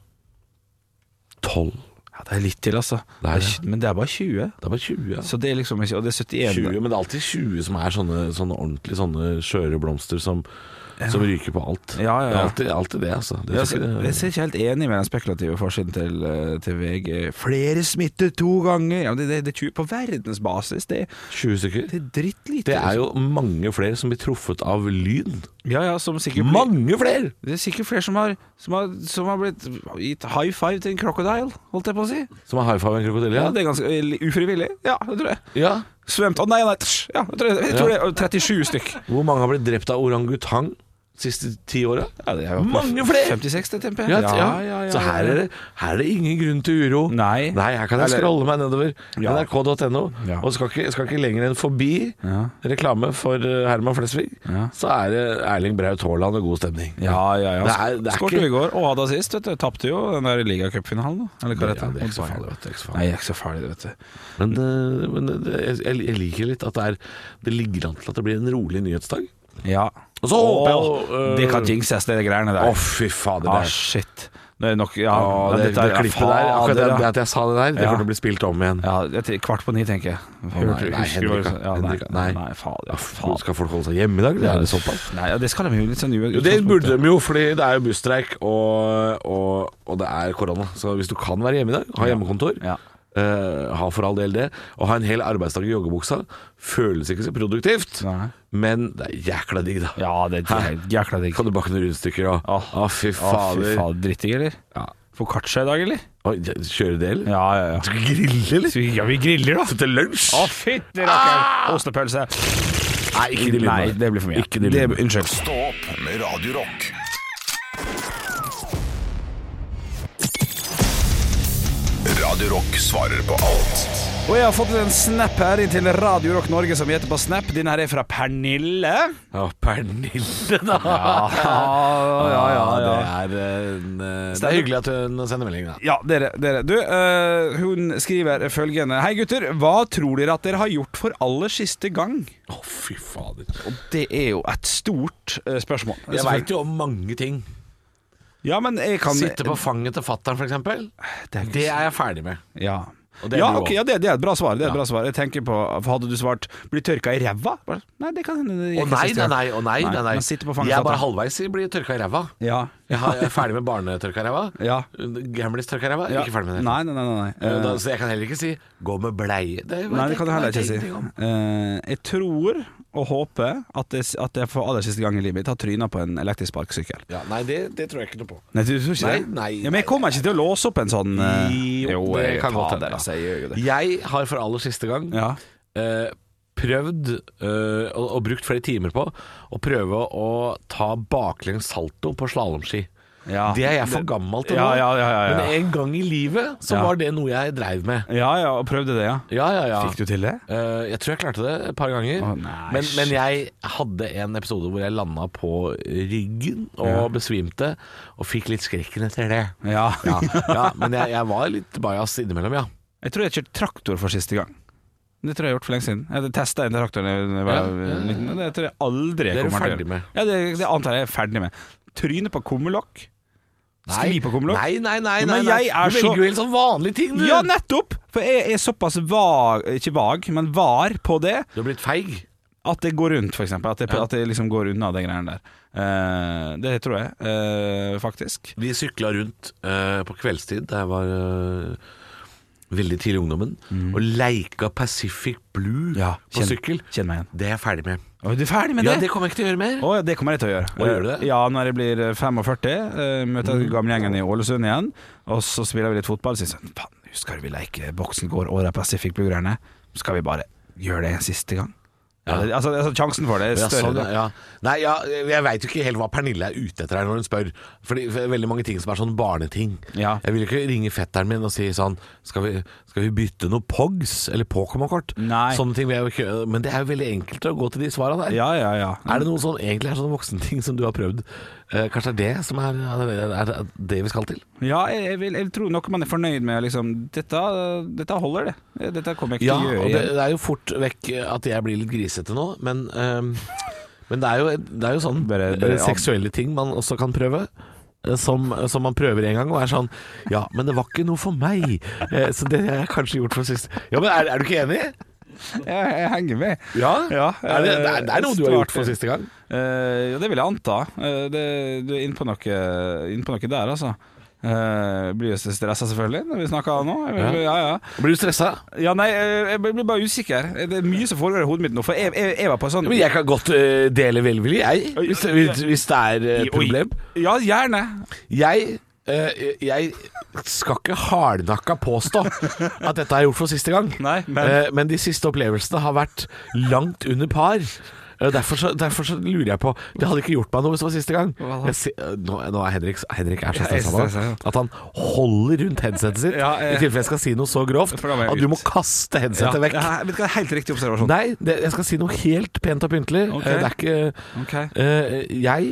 Speaker 3: er tolv.
Speaker 4: Ja, det er litt til, altså.
Speaker 3: Det er det.
Speaker 4: Men det er bare 20.
Speaker 3: Det var 20. Ja.
Speaker 4: Så det er liksom ikke Og det er 71.
Speaker 3: 20, men det er alltid 20 som er sånne, sånne ordentlig sånne skjøre blomster som, som ryker på alt.
Speaker 4: Ja, ja, ja.
Speaker 3: Det er alltid, alltid det, altså. Det
Speaker 4: Jeg
Speaker 3: er ikke
Speaker 4: er
Speaker 3: det-
Speaker 4: jeg ser ikke helt enig med den spekulative forsiden til, eh, til VG. Flere smittet to ganger! Ja, men det, det, det er 20 på verdensbasis. Det,
Speaker 3: 20 stykker.
Speaker 4: det er drittlite.
Speaker 3: Det er jo mange flere som blir truffet av lyn.
Speaker 4: Ja, ja, som sikkert blir-
Speaker 3: Mange flere!
Speaker 4: Det er sikkert flere som har, som har, som har blitt gitt high five til en krokodile, holdt jeg på å si.
Speaker 3: Som har high five med en krokodille.
Speaker 4: Ja,
Speaker 3: Ja.
Speaker 4: det er ganske eller ufrivillig. Ja, det tror jeg.
Speaker 3: ja.
Speaker 4: Svømt Å nei, nei, tsk. ja, jeg tror, jeg, jeg tror det er 37 stykk.
Speaker 3: Hvor mange har blitt drept av orangutang siste ti åra?
Speaker 4: Ja, det er jo
Speaker 3: Mange flere!
Speaker 4: 56, det temper
Speaker 3: Ja, ja, ja, ja. Så her er, det, her er det ingen grunn til uro.
Speaker 4: Nei.
Speaker 3: her kan jeg
Speaker 4: Eller-
Speaker 3: scrolle meg nedover
Speaker 4: Ja.
Speaker 3: nrk.no,
Speaker 4: Ja.
Speaker 3: og skal ikke, skal ikke lenger enn forbi
Speaker 4: Ja.
Speaker 3: reklame for eh, Herman Flesvig,
Speaker 4: Ja.
Speaker 3: så er det Erling Braut Haaland og god stemning.
Speaker 4: Ja, ja, ja.
Speaker 3: Det er- det er
Speaker 4: Skårte
Speaker 3: ikke-
Speaker 4: vi i går, og hadde sist, vet du. Tapte jo den der ligacupfinalen, da. Eller hva
Speaker 3: Ja,
Speaker 4: det heter.
Speaker 3: det er ikke så
Speaker 4: Mot Bayern.
Speaker 3: farlig, vet du. det er Ikke så
Speaker 4: Nei,
Speaker 3: farlig.
Speaker 4: jeg er ikke så farlig, det, vet du.
Speaker 3: Men, eh, men det, jeg, jeg liker litt at det, er, det ligger an til at det blir en rolig nyhetsdag.
Speaker 4: Ja.
Speaker 3: Og så håper jeg jo, øh,
Speaker 4: Det kan jinxes, det greiene
Speaker 3: Å,
Speaker 4: der.
Speaker 3: fy fader.
Speaker 4: ah,
Speaker 3: det er-
Speaker 4: shit. Det er nok Ja,
Speaker 3: Å, det,
Speaker 4: dette
Speaker 3: det
Speaker 4: er-
Speaker 3: klippet der, ja,
Speaker 4: Fader,
Speaker 3: det,
Speaker 4: ja.
Speaker 3: det at jeg sa det der, det
Speaker 4: Ja.
Speaker 3: kommer til å bli spilt om igjen.
Speaker 4: Ja, jeg tenker kvart på ni, tenker jeg.
Speaker 3: nei, nei,
Speaker 4: husker du hva du sa?
Speaker 3: Henrika,
Speaker 4: Ja, nei,
Speaker 3: Henrika,
Speaker 4: nei,
Speaker 3: nei.
Speaker 4: nei, faen, ja,
Speaker 3: Ja,
Speaker 4: faen.
Speaker 3: Skal folk holde seg hjemme i dag? Det er det såpass.
Speaker 4: Nei, ja, det skal de jo litt sånn
Speaker 3: Jo, det burde de jo, fordi det er jo busstreik, og, og, og det er korona. Så hvis du kan være hjemme i dag, ha hjemmekontor,
Speaker 4: Ja.
Speaker 3: eh, ha for all del det, og ha en hel arbeidsdag i joggebuksa, føles ikke så produktivt,
Speaker 4: Nei.
Speaker 3: men det er jækla digg, da.
Speaker 4: Ja, det er
Speaker 3: Hæ?
Speaker 4: jækla digg.
Speaker 3: Kan du bake noen rundstykker og Å,
Speaker 4: Åh.
Speaker 3: fy
Speaker 4: Å, fy
Speaker 3: fader.
Speaker 4: faen, drittig, eller?
Speaker 3: Ja.
Speaker 4: Får kartsa i dag, eller?
Speaker 3: Oi, ja, Kjøre det, eller?
Speaker 4: Ja, ja, ja.
Speaker 3: Skal vi grille, eller?
Speaker 4: Så vi- Ja, vi griller, da.
Speaker 3: Så Til lunsj?
Speaker 4: Å, fytti rakkeren. Ostepølse.
Speaker 3: Nei, ikke de lydene.
Speaker 4: Nei, det blir for mye.
Speaker 3: Ikke de lydene.
Speaker 4: Det- Unnskyld.
Speaker 1: Stå opp med Radio Rock. Radio Rock svarer på alt.
Speaker 4: Og jeg har fått en snap her inn til Radio Rock Norge som heter på snap. Din her er fra Pernille.
Speaker 3: Å, Pernille, da. Ah,
Speaker 4: ja,
Speaker 3: Det er, en, eh, det er hyggelig at hun sender melding, da.
Speaker 4: Ja, dere. dere. Du, eh, hun skriver følgende. Hei, gutter. Hva tror dere at dere har gjort for aller siste gang?
Speaker 3: Å, fy fader.
Speaker 4: Det er jo et stort eh, spørsmål.
Speaker 3: Jeg veit jo om mange ting.
Speaker 4: Ja, men jeg kan
Speaker 3: Sitte på fanget til fattern, f.eks.
Speaker 4: Det er ikke-
Speaker 3: Det er jeg ferdig med.
Speaker 4: Ja.
Speaker 3: Og det er
Speaker 4: Ja,
Speaker 3: du
Speaker 4: ok,
Speaker 3: også.
Speaker 4: ja det, det er et bra svar. Det er
Speaker 3: Ja.
Speaker 4: et bra svar Jeg tenker på Hadde du svart 'bli tørka i ræva'? Bare, Nei, det kan hende. det
Speaker 3: Å
Speaker 4: gikk
Speaker 3: nei, nei,
Speaker 4: siste gang.
Speaker 3: nei. Å nei, nei, nei.
Speaker 4: Man sitter på fanget
Speaker 3: jeg
Speaker 4: til
Speaker 3: er bare
Speaker 4: fatteren.
Speaker 3: halvveis i blir tørka i ræva.
Speaker 4: Ja.
Speaker 3: Jeg har- jeg er ferdig med barnetørka i ræva.
Speaker 4: Ja.
Speaker 3: Gamlis tørka i ræva.
Speaker 4: ja.
Speaker 3: Ikke ferdig med det.
Speaker 4: Nei, nei, nei. nei, nei.
Speaker 3: Eh, Da,
Speaker 4: Eh,
Speaker 3: så jeg kan heller ikke si 'gå med bleie'. Det vet
Speaker 4: nei
Speaker 3: jeg
Speaker 4: det kan du heller
Speaker 3: vet
Speaker 4: ikke si.
Speaker 3: jeg ingenting om.
Speaker 4: Eh, jeg tror og håper at jeg, s- at jeg for aller siste gang i livet mitt har tryna på en elektrisk sparkesykkel.
Speaker 3: Ja, nei, det, det tror jeg ikke noe på.
Speaker 4: Nei, du tror ikke
Speaker 3: Nei,
Speaker 4: det?
Speaker 3: nei,
Speaker 4: ja, men jeg kommer ikke til å låse opp en sånn eh,
Speaker 3: Jo,
Speaker 4: Jo,
Speaker 3: det
Speaker 4: jeg
Speaker 3: kan
Speaker 4: fader,
Speaker 3: godt hende.
Speaker 4: altså, jeg gjør jo det.
Speaker 3: Jeg har for aller siste gang
Speaker 4: Ja.
Speaker 3: eh, prøvd øh, og, og brukt flere timer på å prøve å ta baklengs salto på slalåmski.
Speaker 4: Ja.
Speaker 3: Det er jeg for gammel til nå,
Speaker 4: Ah, Ja, ja, ja, ja, ja.
Speaker 3: men en gang i livet så
Speaker 4: Ja.
Speaker 3: var det noe jeg dreiv med.
Speaker 4: Ja ja, og prøvde det, ja.
Speaker 3: Ja, ja, ja.
Speaker 4: Fikk du til det?
Speaker 3: Eh, jeg tror jeg klarte det et par ganger.
Speaker 4: Å, nei,
Speaker 3: men,
Speaker 4: shit.
Speaker 3: men jeg hadde en episode hvor jeg landa på ryggen og besvimte, og fikk litt skrekken etter det.
Speaker 4: Ja.
Speaker 3: Ja, ja Men jeg, jeg var litt bajas innimellom, ja.
Speaker 4: Jeg tror jeg kjørte traktor for siste gang. Det tror jeg har gjort for lenge siden. Jeg testa en traktor da jeg var
Speaker 3: Ja, ja, ja.
Speaker 4: liten. og Det tror jeg aldri
Speaker 3: Det er du
Speaker 4: kommer til å
Speaker 3: ferdig
Speaker 4: gjøre.
Speaker 3: med.
Speaker 4: Ja, det, det antar jeg jeg er ferdig med. Tryne på kummerlokk. Skli på kummerlokk.
Speaker 3: Nei, nei, nei.
Speaker 4: Jo,
Speaker 3: nei,
Speaker 4: men
Speaker 3: nei.
Speaker 4: jeg er
Speaker 3: du
Speaker 4: så-
Speaker 3: velger jo helt sånn vanlige ting, du.
Speaker 4: Ja, nettopp! For jeg er såpass vag, ikke vag, men var på det
Speaker 3: du har blitt feig.
Speaker 4: at det går rundt, for eksempel. At det, at det liksom går unna de greiene der. Eh, det tror jeg, eh, faktisk.
Speaker 3: Vi sykla rundt eh, på kveldstid da jeg var eh, veldig tidlig i ungdommen,
Speaker 4: Mm.
Speaker 3: og leika Pacific Blue på
Speaker 4: kjenn-
Speaker 3: sykkel.
Speaker 4: Kjenn meg igjen.
Speaker 3: Det er jeg ferdig med.
Speaker 4: Å, du er ferdig med
Speaker 3: ja,
Speaker 4: det?
Speaker 3: det kommer jeg ikke til å gjøre mer.
Speaker 4: Å, ja, det kommer jeg til å gjøre. Eh,
Speaker 3: Å, gjør du det? Mm.
Speaker 4: Ja, når jeg blir 45, eh, møter jeg gamlegjengen i Ålesund igjen, og så spiller vi litt fotball. Så sier jeg sånn Faen, husker du vi leker Boksen går og de Pacific Blue-greiene? Skal vi bare gjøre det en siste gang? Ja. det, altså, altså, sjansen for det er
Speaker 3: Ja,
Speaker 4: større.
Speaker 3: sånn,
Speaker 4: da.
Speaker 3: ja. Nei, ja, jeg veit jo ikke helt hva Pernille er ute etter her når hun spør. Fordi for det er veldig mange ting som er sånn barneting.
Speaker 4: Ja.
Speaker 3: Jeg vil jo ikke ringe fetteren min og si sånn Skal vi, skal vi bytte noe POGs eller Pokémon-kort?
Speaker 4: Nei.
Speaker 3: Sånne ting vil jeg jo ikke Men det er jo veldig enkelt å gå til de svara der.
Speaker 4: ja, ja, ja.
Speaker 3: Er det noe som egentlig er sånne voksenting som du har prøvd? Eh, kanskje det er det som er, er det det vi skal til?
Speaker 4: Ja, jeg, jeg, vil, jeg tror nok man er fornøyd med liksom, dette, dette holder det. Dette kommer jeg ikke
Speaker 3: Ja,
Speaker 4: til å gjøre
Speaker 3: og det,
Speaker 4: igjen.
Speaker 3: det er jo fort vekk at jeg blir litt grisete nå, men, ehm, men det, er jo, det er jo sånn
Speaker 4: Bare- bare-
Speaker 3: eh, seksuelle ting man også kan prøve. eh, Som, som man prøver en gang og er sånn Ja, men det var ikke noe for meg. Eh, Så det har jeg kanskje gjort for sist. Ja, men Er, er du ikke enig?
Speaker 4: Jeg, jeg henger med.
Speaker 3: Ja? eh,
Speaker 4: Ja,
Speaker 3: er det, det, er, det er noe du har
Speaker 4: svart
Speaker 3: gjort for
Speaker 4: det.
Speaker 3: siste gang.
Speaker 4: Eh, ja, det vil jeg anta. Eh, det, du er inne på noe, inn på noe der, altså. Uh, blir jo stressa, selvfølgelig, når vi snakker nå. Jeg, vil- ja, ja.
Speaker 3: Blir du stressa?
Speaker 4: ja, nei, eh, jeg blir bare usikker. Eh, Det er mye som foregår i hodet mitt nå, for jeg, jeg, jeg var på en sånn
Speaker 3: Men jeg kan godt eh, dele velvillig, jeg. Hvis, hvis, hvis det er eh, et
Speaker 4: Oi.
Speaker 3: problem.
Speaker 4: Ja, gjerne.
Speaker 3: Jeg eh, jeg skal ikke hardnakka påstå at dette har jeg gjort for siste gang,
Speaker 4: Nei, men-
Speaker 3: Eh, men de siste opplevelsene har vært langt under par. Eh, Derfor så, derfor så lurer jeg på Det hadde ikke gjort meg noe hvis det var siste gang.
Speaker 4: Hva da?
Speaker 3: Jeg se, eh, nå, nå er Henrik, Henrik er så
Speaker 4: Jeg er
Speaker 3: stressa nå
Speaker 4: stresset,
Speaker 3: at han holder rundt headsetet sitt
Speaker 4: Ja, eh.
Speaker 3: i tilfelle jeg skal si noe så grovt
Speaker 4: For da må jeg
Speaker 3: at du
Speaker 4: ut.
Speaker 3: må kaste headsetet vekk.
Speaker 4: Ja, vet du hva, helt riktig observasjon.
Speaker 3: Nei, det, jeg skal si noe helt pent og pyntelig.
Speaker 4: Ok.
Speaker 3: Eh, Det er ikke
Speaker 4: Ok.
Speaker 3: Eh, jeg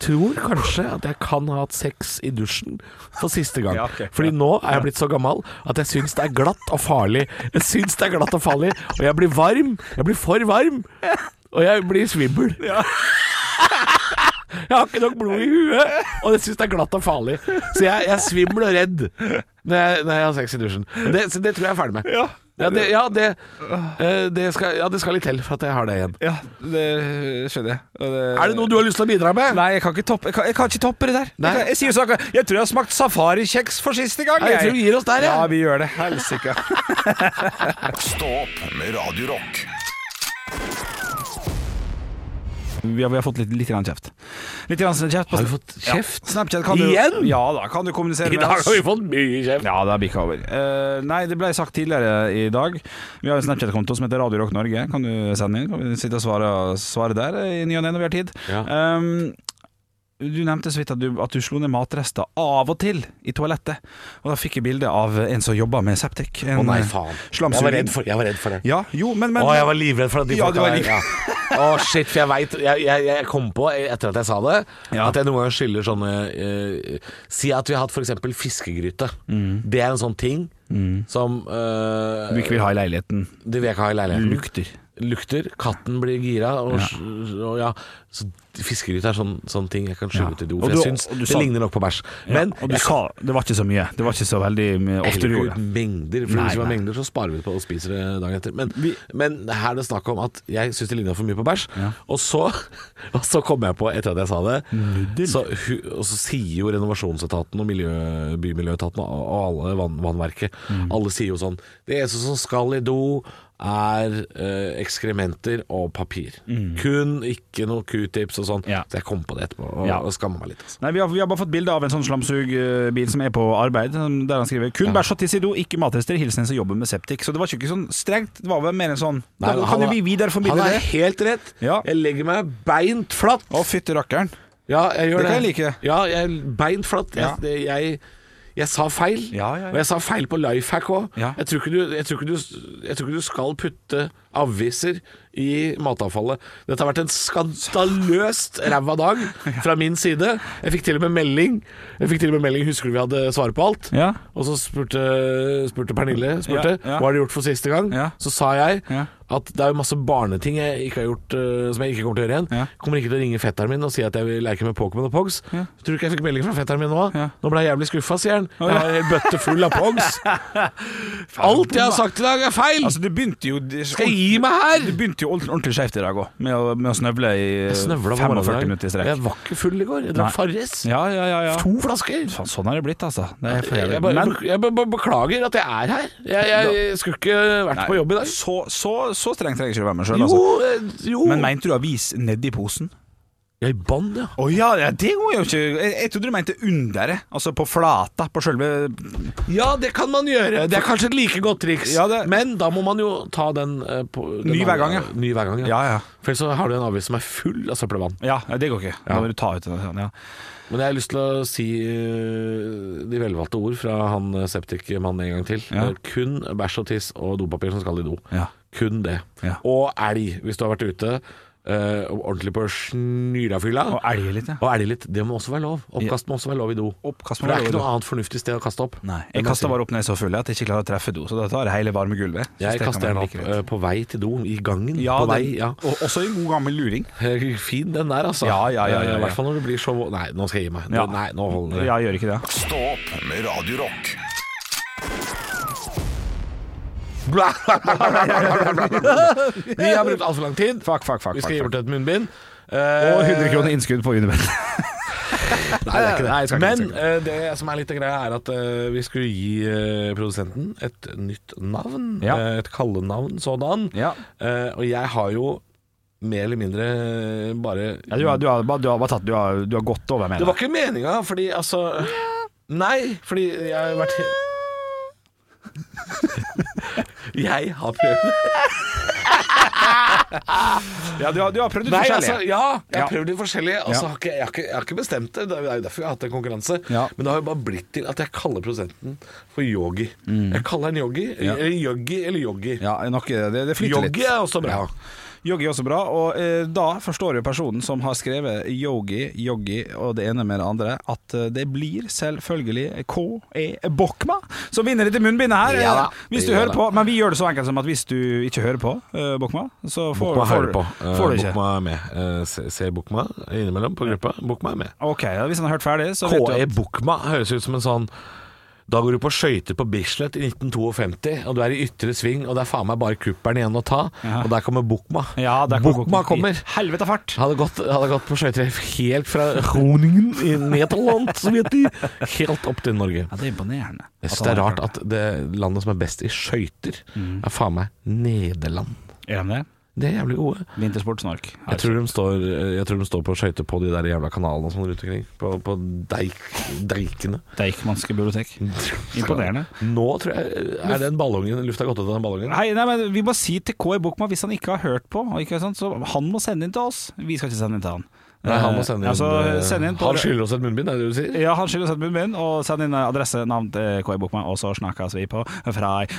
Speaker 3: tror kanskje at jeg kan ha hatt sex i dusjen for siste gang.
Speaker 4: Ja, ok.
Speaker 3: Fordi nå er jeg blitt så gammel at jeg syns det er glatt og farlig. Jeg syns det er glatt og farlig, og jeg blir varm. Jeg blir for varm. Og jeg blir svimmel. Jeg har ikke nok blod i huet, og jeg syns det er glatt og farlig. Så jeg, jeg er svimmel og redd når jeg, når jeg har sex i dusjen. Det, så det tror jeg er ferdig med.
Speaker 4: Ja.
Speaker 3: Ja, det, ja, det, eh, det, skal, ja, det skal litt til for at jeg har det igjen.
Speaker 4: Ja, det skjønner jeg. Og
Speaker 3: Er det noe du har lyst til å bidra med?
Speaker 4: Nei, jeg kan ikke toppe, jeg kan, jeg kan ikke toppe det der.
Speaker 3: Nei.
Speaker 4: Jeg, kan, jeg sier jo sånn Jeg tror jeg har smakt safarikjeks for siste gang.
Speaker 3: Nei, jeg tror vi gir oss der,
Speaker 4: ja.
Speaker 3: jeg.
Speaker 4: vi gjør det. Helsike.
Speaker 1: Stå opp med Radio Rock.
Speaker 4: vi, har, vi har fått litt, litt grann kjeft. Litt grann kjeft på
Speaker 3: Har vi fått kjeft?
Speaker 4: Ja. Snapchat kan
Speaker 3: Igjen?
Speaker 4: Du, ja da, kan du kommunisere
Speaker 3: I
Speaker 4: med
Speaker 3: dag
Speaker 4: oss.
Speaker 3: har vi fått mye kjeft.
Speaker 4: Ja, det har bikka over. Eh, nei, det ble sagt tidligere i dag. Vi har en Snapchat-konto som heter Radio Rock Norge. Kan du sende inn? Kan vi sitte og svare, svare der i ny og ne når vi har tid?
Speaker 3: Ja.
Speaker 4: Um, du nevnte så vidt at du, at du slo ned matrester av og til i toalettet. Og da fikk jeg bilde av en som jobba med septik.
Speaker 3: Å
Speaker 4: En,
Speaker 3: nei,
Speaker 4: eh,
Speaker 3: faen.
Speaker 4: Slamsuging.
Speaker 3: Jeg var redd for, jeg var redd for det.
Speaker 4: Ja, jo, men, men
Speaker 3: Å, jeg var livredd for at de
Speaker 4: Ja,
Speaker 3: folka
Speaker 4: du var
Speaker 3: der-
Speaker 4: liv-
Speaker 3: ja. Å, shit, for jeg veit jeg, jeg, jeg kom på etter at jeg sa det,
Speaker 4: Ja.
Speaker 3: at jeg noen ganger skylder sånne eh, Si at vi har hatt f.eks. fiskegryte. Det er en sånn ting som eh,
Speaker 4: Du ikke vil ha i leiligheten.
Speaker 3: det vil jeg ikke ha i leiligheten.
Speaker 4: Mm. Lukter.
Speaker 3: Lukter. Katten blir gira. Og,
Speaker 4: Ja.
Speaker 3: s- og ja. Så fiskegryte er sånn, sånn ting jeg kan
Speaker 4: Ja.
Speaker 3: skyve ut i do.
Speaker 4: Og
Speaker 3: For jeg
Speaker 4: du-
Speaker 3: syns
Speaker 4: og du
Speaker 3: det
Speaker 4: sa-
Speaker 3: ligner nok på bæsj. Men
Speaker 4: Men Og du sa det var ikke så mye. Det var ikke så veldig mye ofte du
Speaker 3: heller
Speaker 4: gjorde
Speaker 3: ikke
Speaker 4: det.
Speaker 3: ut mengder, for
Speaker 4: Nei,
Speaker 3: hvis vi har
Speaker 4: nei.
Speaker 3: mengder, så sparer vi det på og spiser det dagen etter. Men, men her er det snakk om at jeg syns det ligna for mye på bæsj.
Speaker 4: Ja.
Speaker 3: Og, så, og så kom jeg på, etter at jeg sa det så, hu- Og så sier jo renovasjonsetaten og miljø,
Speaker 4: Mm.
Speaker 3: bymiljøetaten og, og alle vann, vannverket Alle sier jo sånn Det eneste som skal i do, er eh, ekskrementer og papir. Kun ikke noe q-tips og sånn.
Speaker 4: Mm. Ja.
Speaker 3: Så jeg kom på det etterpå og,
Speaker 4: Ja.
Speaker 3: og skammer meg litt. Altså.
Speaker 4: Nei, vi har, vi har bare fått bilde av en sånn slamsugbil som er på arbeid, som- der han skriver 'Kun bæsj og tiss i do, ikke matrester. Hilsen en som jobber med septik'. Så det var ikke sånn strengt, det var vel mer en sånn
Speaker 3: Nei,
Speaker 4: da,
Speaker 3: han
Speaker 4: Kan jo
Speaker 3: er-
Speaker 4: vi
Speaker 3: Han
Speaker 4: videreformidle
Speaker 3: er
Speaker 4: det?
Speaker 3: helt rett.
Speaker 4: Ja.
Speaker 3: Jeg legger meg beint flatt.
Speaker 4: Å, fytti rakkeren.
Speaker 3: Ja, jeg gjør
Speaker 4: Det
Speaker 3: det.
Speaker 4: kan jeg like.
Speaker 3: Ja, jeg, beint flatt. Jeg,
Speaker 4: Ja.
Speaker 3: det, jeg, jeg sa feil,
Speaker 4: Ja, ja, ja.
Speaker 3: og jeg sa feil på lifehack òg.
Speaker 4: Ja.
Speaker 3: Jeg, tror ikke du- jeg, tror ikke du- jeg tror ikke du skal putte aviser i matavfallet. Dette har vært en skandaløst ræva dag fra min side. Jeg fikk til og med melding. Jeg fikk til og med melding, Husker du vi hadde svaret på alt?
Speaker 4: Ja.
Speaker 3: Og så spurte, spurte Pernille spurte,
Speaker 4: Ja, ja.
Speaker 3: hva har du gjort for siste gang.
Speaker 4: Ja.
Speaker 3: Så sa jeg
Speaker 4: Ja.
Speaker 3: at det er jo masse barneting jeg ikke har gjort eh, som jeg ikke kommer til å gjøre igjen.
Speaker 4: Ja.
Speaker 3: Kommer ikke til å ringe fetteren min og si at jeg vil leke med Pokémon og Pogs. Tror du ikke jeg fikk melding fra fetteren min nå?
Speaker 4: Ja.
Speaker 3: Nå ble jeg jævlig skuffa, sier han.
Speaker 4: ja.
Speaker 3: Jeg har en hel bøtte full av Pogs. Alt jeg har sagt i dag er feil!
Speaker 4: Altså, du begynte jo det-
Speaker 3: Skal jeg gi meg her?
Speaker 4: Du begynte jo ordent- ordentlig skjevt i dag òg, med, å- med å snøvle i eh,
Speaker 3: Jeg snøvla på
Speaker 4: 45
Speaker 3: morgenen.
Speaker 4: minutter
Speaker 3: i
Speaker 4: i
Speaker 3: dag.
Speaker 4: strekk.
Speaker 3: Jeg var ikke full i går. Jeg
Speaker 4: Nei.
Speaker 3: drakk Farris.
Speaker 4: Ja, ja, ja. ja.
Speaker 3: To flasker.
Speaker 4: Faen, sånn er det blitt, altså. Det er for jævlig.
Speaker 3: Jeg bare,
Speaker 4: Men-
Speaker 3: jeg bare beklager at jeg er her. Jeg, jeg, skulle ikke vært på jobb i dag.
Speaker 4: Så, så, så strengt trenger jeg ikke å være med sjøl,
Speaker 3: Jo,
Speaker 4: altså.
Speaker 3: eh, jo.
Speaker 4: Men mente du avis nedi posen?
Speaker 3: Jeg band, ja.
Speaker 4: Å ja, ja, det går jo ikke Jeg, jeg trodde du mente under, jeg. altså på flata, på sjølve
Speaker 3: Ja, det kan man gjøre. Det er kanskje et like godt triks.
Speaker 4: Ja, det-
Speaker 3: Men da må man jo ta den, eh, på, den
Speaker 4: Ny hver gang, ja.
Speaker 3: andre- Ny hver gang, ja.
Speaker 4: Ja, ja.
Speaker 3: For ellers så har du en avis som er full av søppelvann.
Speaker 4: Ja, det går ikke. Da må du ta ut den. sånn, Ja.
Speaker 3: Men jeg har lyst til å si eh, de velvalgte ord fra han eh, septikmannen en gang til.
Speaker 4: Ja.
Speaker 3: Eh, Kun bæsj og tiss og dopapir som skal i do.
Speaker 4: Ja.
Speaker 3: Kun det.
Speaker 4: Ja.
Speaker 3: Og elg, hvis du har vært ute eh, ordentlig på snyrafylla.
Speaker 4: Og elge litt, ja.
Speaker 3: Og elge litt. Det må også være lov. Oppkast må også være lov i do.
Speaker 4: Oppkast
Speaker 3: For
Speaker 4: må
Speaker 3: det
Speaker 4: være
Speaker 3: er
Speaker 4: lov i
Speaker 3: ikke
Speaker 4: do.
Speaker 3: noe annet fornuftig sted å kaste opp.
Speaker 4: Nei,
Speaker 3: Det
Speaker 4: jeg
Speaker 3: må
Speaker 4: kaster
Speaker 3: si.
Speaker 4: bare opp når jeg er så full at jeg ikke klarer å treffe do, så da tar jeg hele varme gulvet. Så
Speaker 3: Jeg
Speaker 4: steker
Speaker 3: kaster den
Speaker 4: meg
Speaker 3: opp
Speaker 4: like
Speaker 3: eh,
Speaker 4: rundt.
Speaker 3: på vei til doen, i gangen.
Speaker 4: Ja,
Speaker 3: på vei,
Speaker 4: den-
Speaker 3: ja.
Speaker 4: Og også en god gammel luring.
Speaker 3: Eh, Fin den der, altså.
Speaker 4: Ja, ja, ja,
Speaker 3: Eh,
Speaker 4: ja,
Speaker 3: I
Speaker 4: ja.
Speaker 3: hvert fall når det blir så vå- Nei, nå skal jeg gi meg.
Speaker 4: Ja.
Speaker 3: Nå- Nei, nå holder det.
Speaker 4: Ja, jeg gjør ikke det.
Speaker 1: Stå opp med Radio Rock.
Speaker 3: Bla, bla, bla, bla, bla, bla, bla, bla. Vi har brukt altfor lang tid.
Speaker 4: Fuck, fuck, fuck.
Speaker 3: Vi
Speaker 4: fuck,
Speaker 3: skal gi
Speaker 4: fuck.
Speaker 3: bort et munnbind.
Speaker 4: Og
Speaker 3: Eh,
Speaker 4: 100 kroner innskudd på Unibet.
Speaker 3: Nei, det er ikke det.
Speaker 4: Nei, jeg skal ikke-
Speaker 3: Men
Speaker 4: jeg
Speaker 3: eh, det som er litt av greia, er at eh, vi skulle gi eh, produsenten et nytt navn.
Speaker 4: Ja.
Speaker 3: eh, et kallenavn sådan.
Speaker 4: Ja.
Speaker 3: Eh, og jeg har jo mer eller mindre eh, bare
Speaker 4: Ja, du, har, du, har, bare- du har bare tatt Du har, du har gått over, mener
Speaker 3: Det var ikke meninga, fordi altså Nei, fordi jeg har vært Jeg har prøvd
Speaker 4: Ja, du, har, du har prøvd litt
Speaker 3: Nei,
Speaker 4: forskjellig.
Speaker 3: altså, ja, jeg
Speaker 4: Ja.
Speaker 3: har prøvd litt forskjellig, og så
Speaker 4: Ja.
Speaker 3: har ikke, jeg, har ikke, jeg har ikke bestemt det. Det er jo derfor jeg har hatt en konkurranse.
Speaker 4: Ja.
Speaker 3: Men det har jo bare blitt til at jeg kaller prosenten for yogi. Jeg kaller han yogi, eller yogi eller yogi.
Speaker 4: ja, nok, eh, det, det flyter litt.
Speaker 3: Yogi er også bra.
Speaker 4: Yogi er også bra, og eh, da forstår jo personen som har skrevet yogi, yogi og det ene med det andre, at eh, det blir selvfølgelig K.E. Bokma som vinner dette munnbindet her.
Speaker 3: Ja da.
Speaker 4: eh, hvis du
Speaker 3: Ja
Speaker 4: hører
Speaker 3: da.
Speaker 4: på, men vi gjør det så enkelt som at hvis du ikke hører på eh, Bokma, så får,
Speaker 3: Bokma
Speaker 4: får,
Speaker 3: hører på. Eh,
Speaker 4: får du ikke.
Speaker 3: Bokma er med. Eh, se- Ser Bokma innimellom på gruppa. Bokma er med.
Speaker 4: Ok, ja, hvis han har hørt ferdig, så vet du
Speaker 3: KE Bokma E høres ut som en sånn da går du på skøyter på Bislett i 1952, og du er i ytre sving, og det er faen meg bare kuppelen igjen å ta, og der kommer Bokma.
Speaker 4: Ja, der kommer
Speaker 3: Bokma kommer.
Speaker 4: I Helvete fart!
Speaker 3: Hadde gått, hadde gått på skøyter helt fra Groningen i Nederland, så vet de, helt opp til Norge.
Speaker 4: Ja, det er imponerende.
Speaker 3: Jeg synes
Speaker 4: han
Speaker 3: det er
Speaker 4: har
Speaker 3: rart
Speaker 4: klart
Speaker 3: at det landet som er best i skøyter,
Speaker 4: Mm.
Speaker 3: er faen meg Nederland.
Speaker 4: det. Er han det?
Speaker 3: Det er jævlig gode.
Speaker 4: Vintersportsnork.
Speaker 3: Jeg tror, de står, jeg tror de står på skøyter på de der jævla kanalene og sånn rundt omkring. På, på deik, deikene.
Speaker 4: Deichmanske bibliotek. Imponerende.
Speaker 3: Nå tror jeg er den ballongen Lufta gått ut av den ballongen.
Speaker 4: Hei, nei, men Vi må si til K i Bokma hvis han ikke har hørt på. Og ikke, sant? Så han må sende inn til oss. Vi skal ikke sende inn til han.
Speaker 3: Nei, han
Speaker 4: Eh,
Speaker 3: må sende inn,
Speaker 4: altså,
Speaker 3: eh,
Speaker 4: send inn på,
Speaker 3: Han skylder oss et munnbind, er det det du sier?
Speaker 4: Ja, han skylder oss et munnbind, og send inn eh, adresse, navn til K i Bokma, og så snakkes vi på fredag.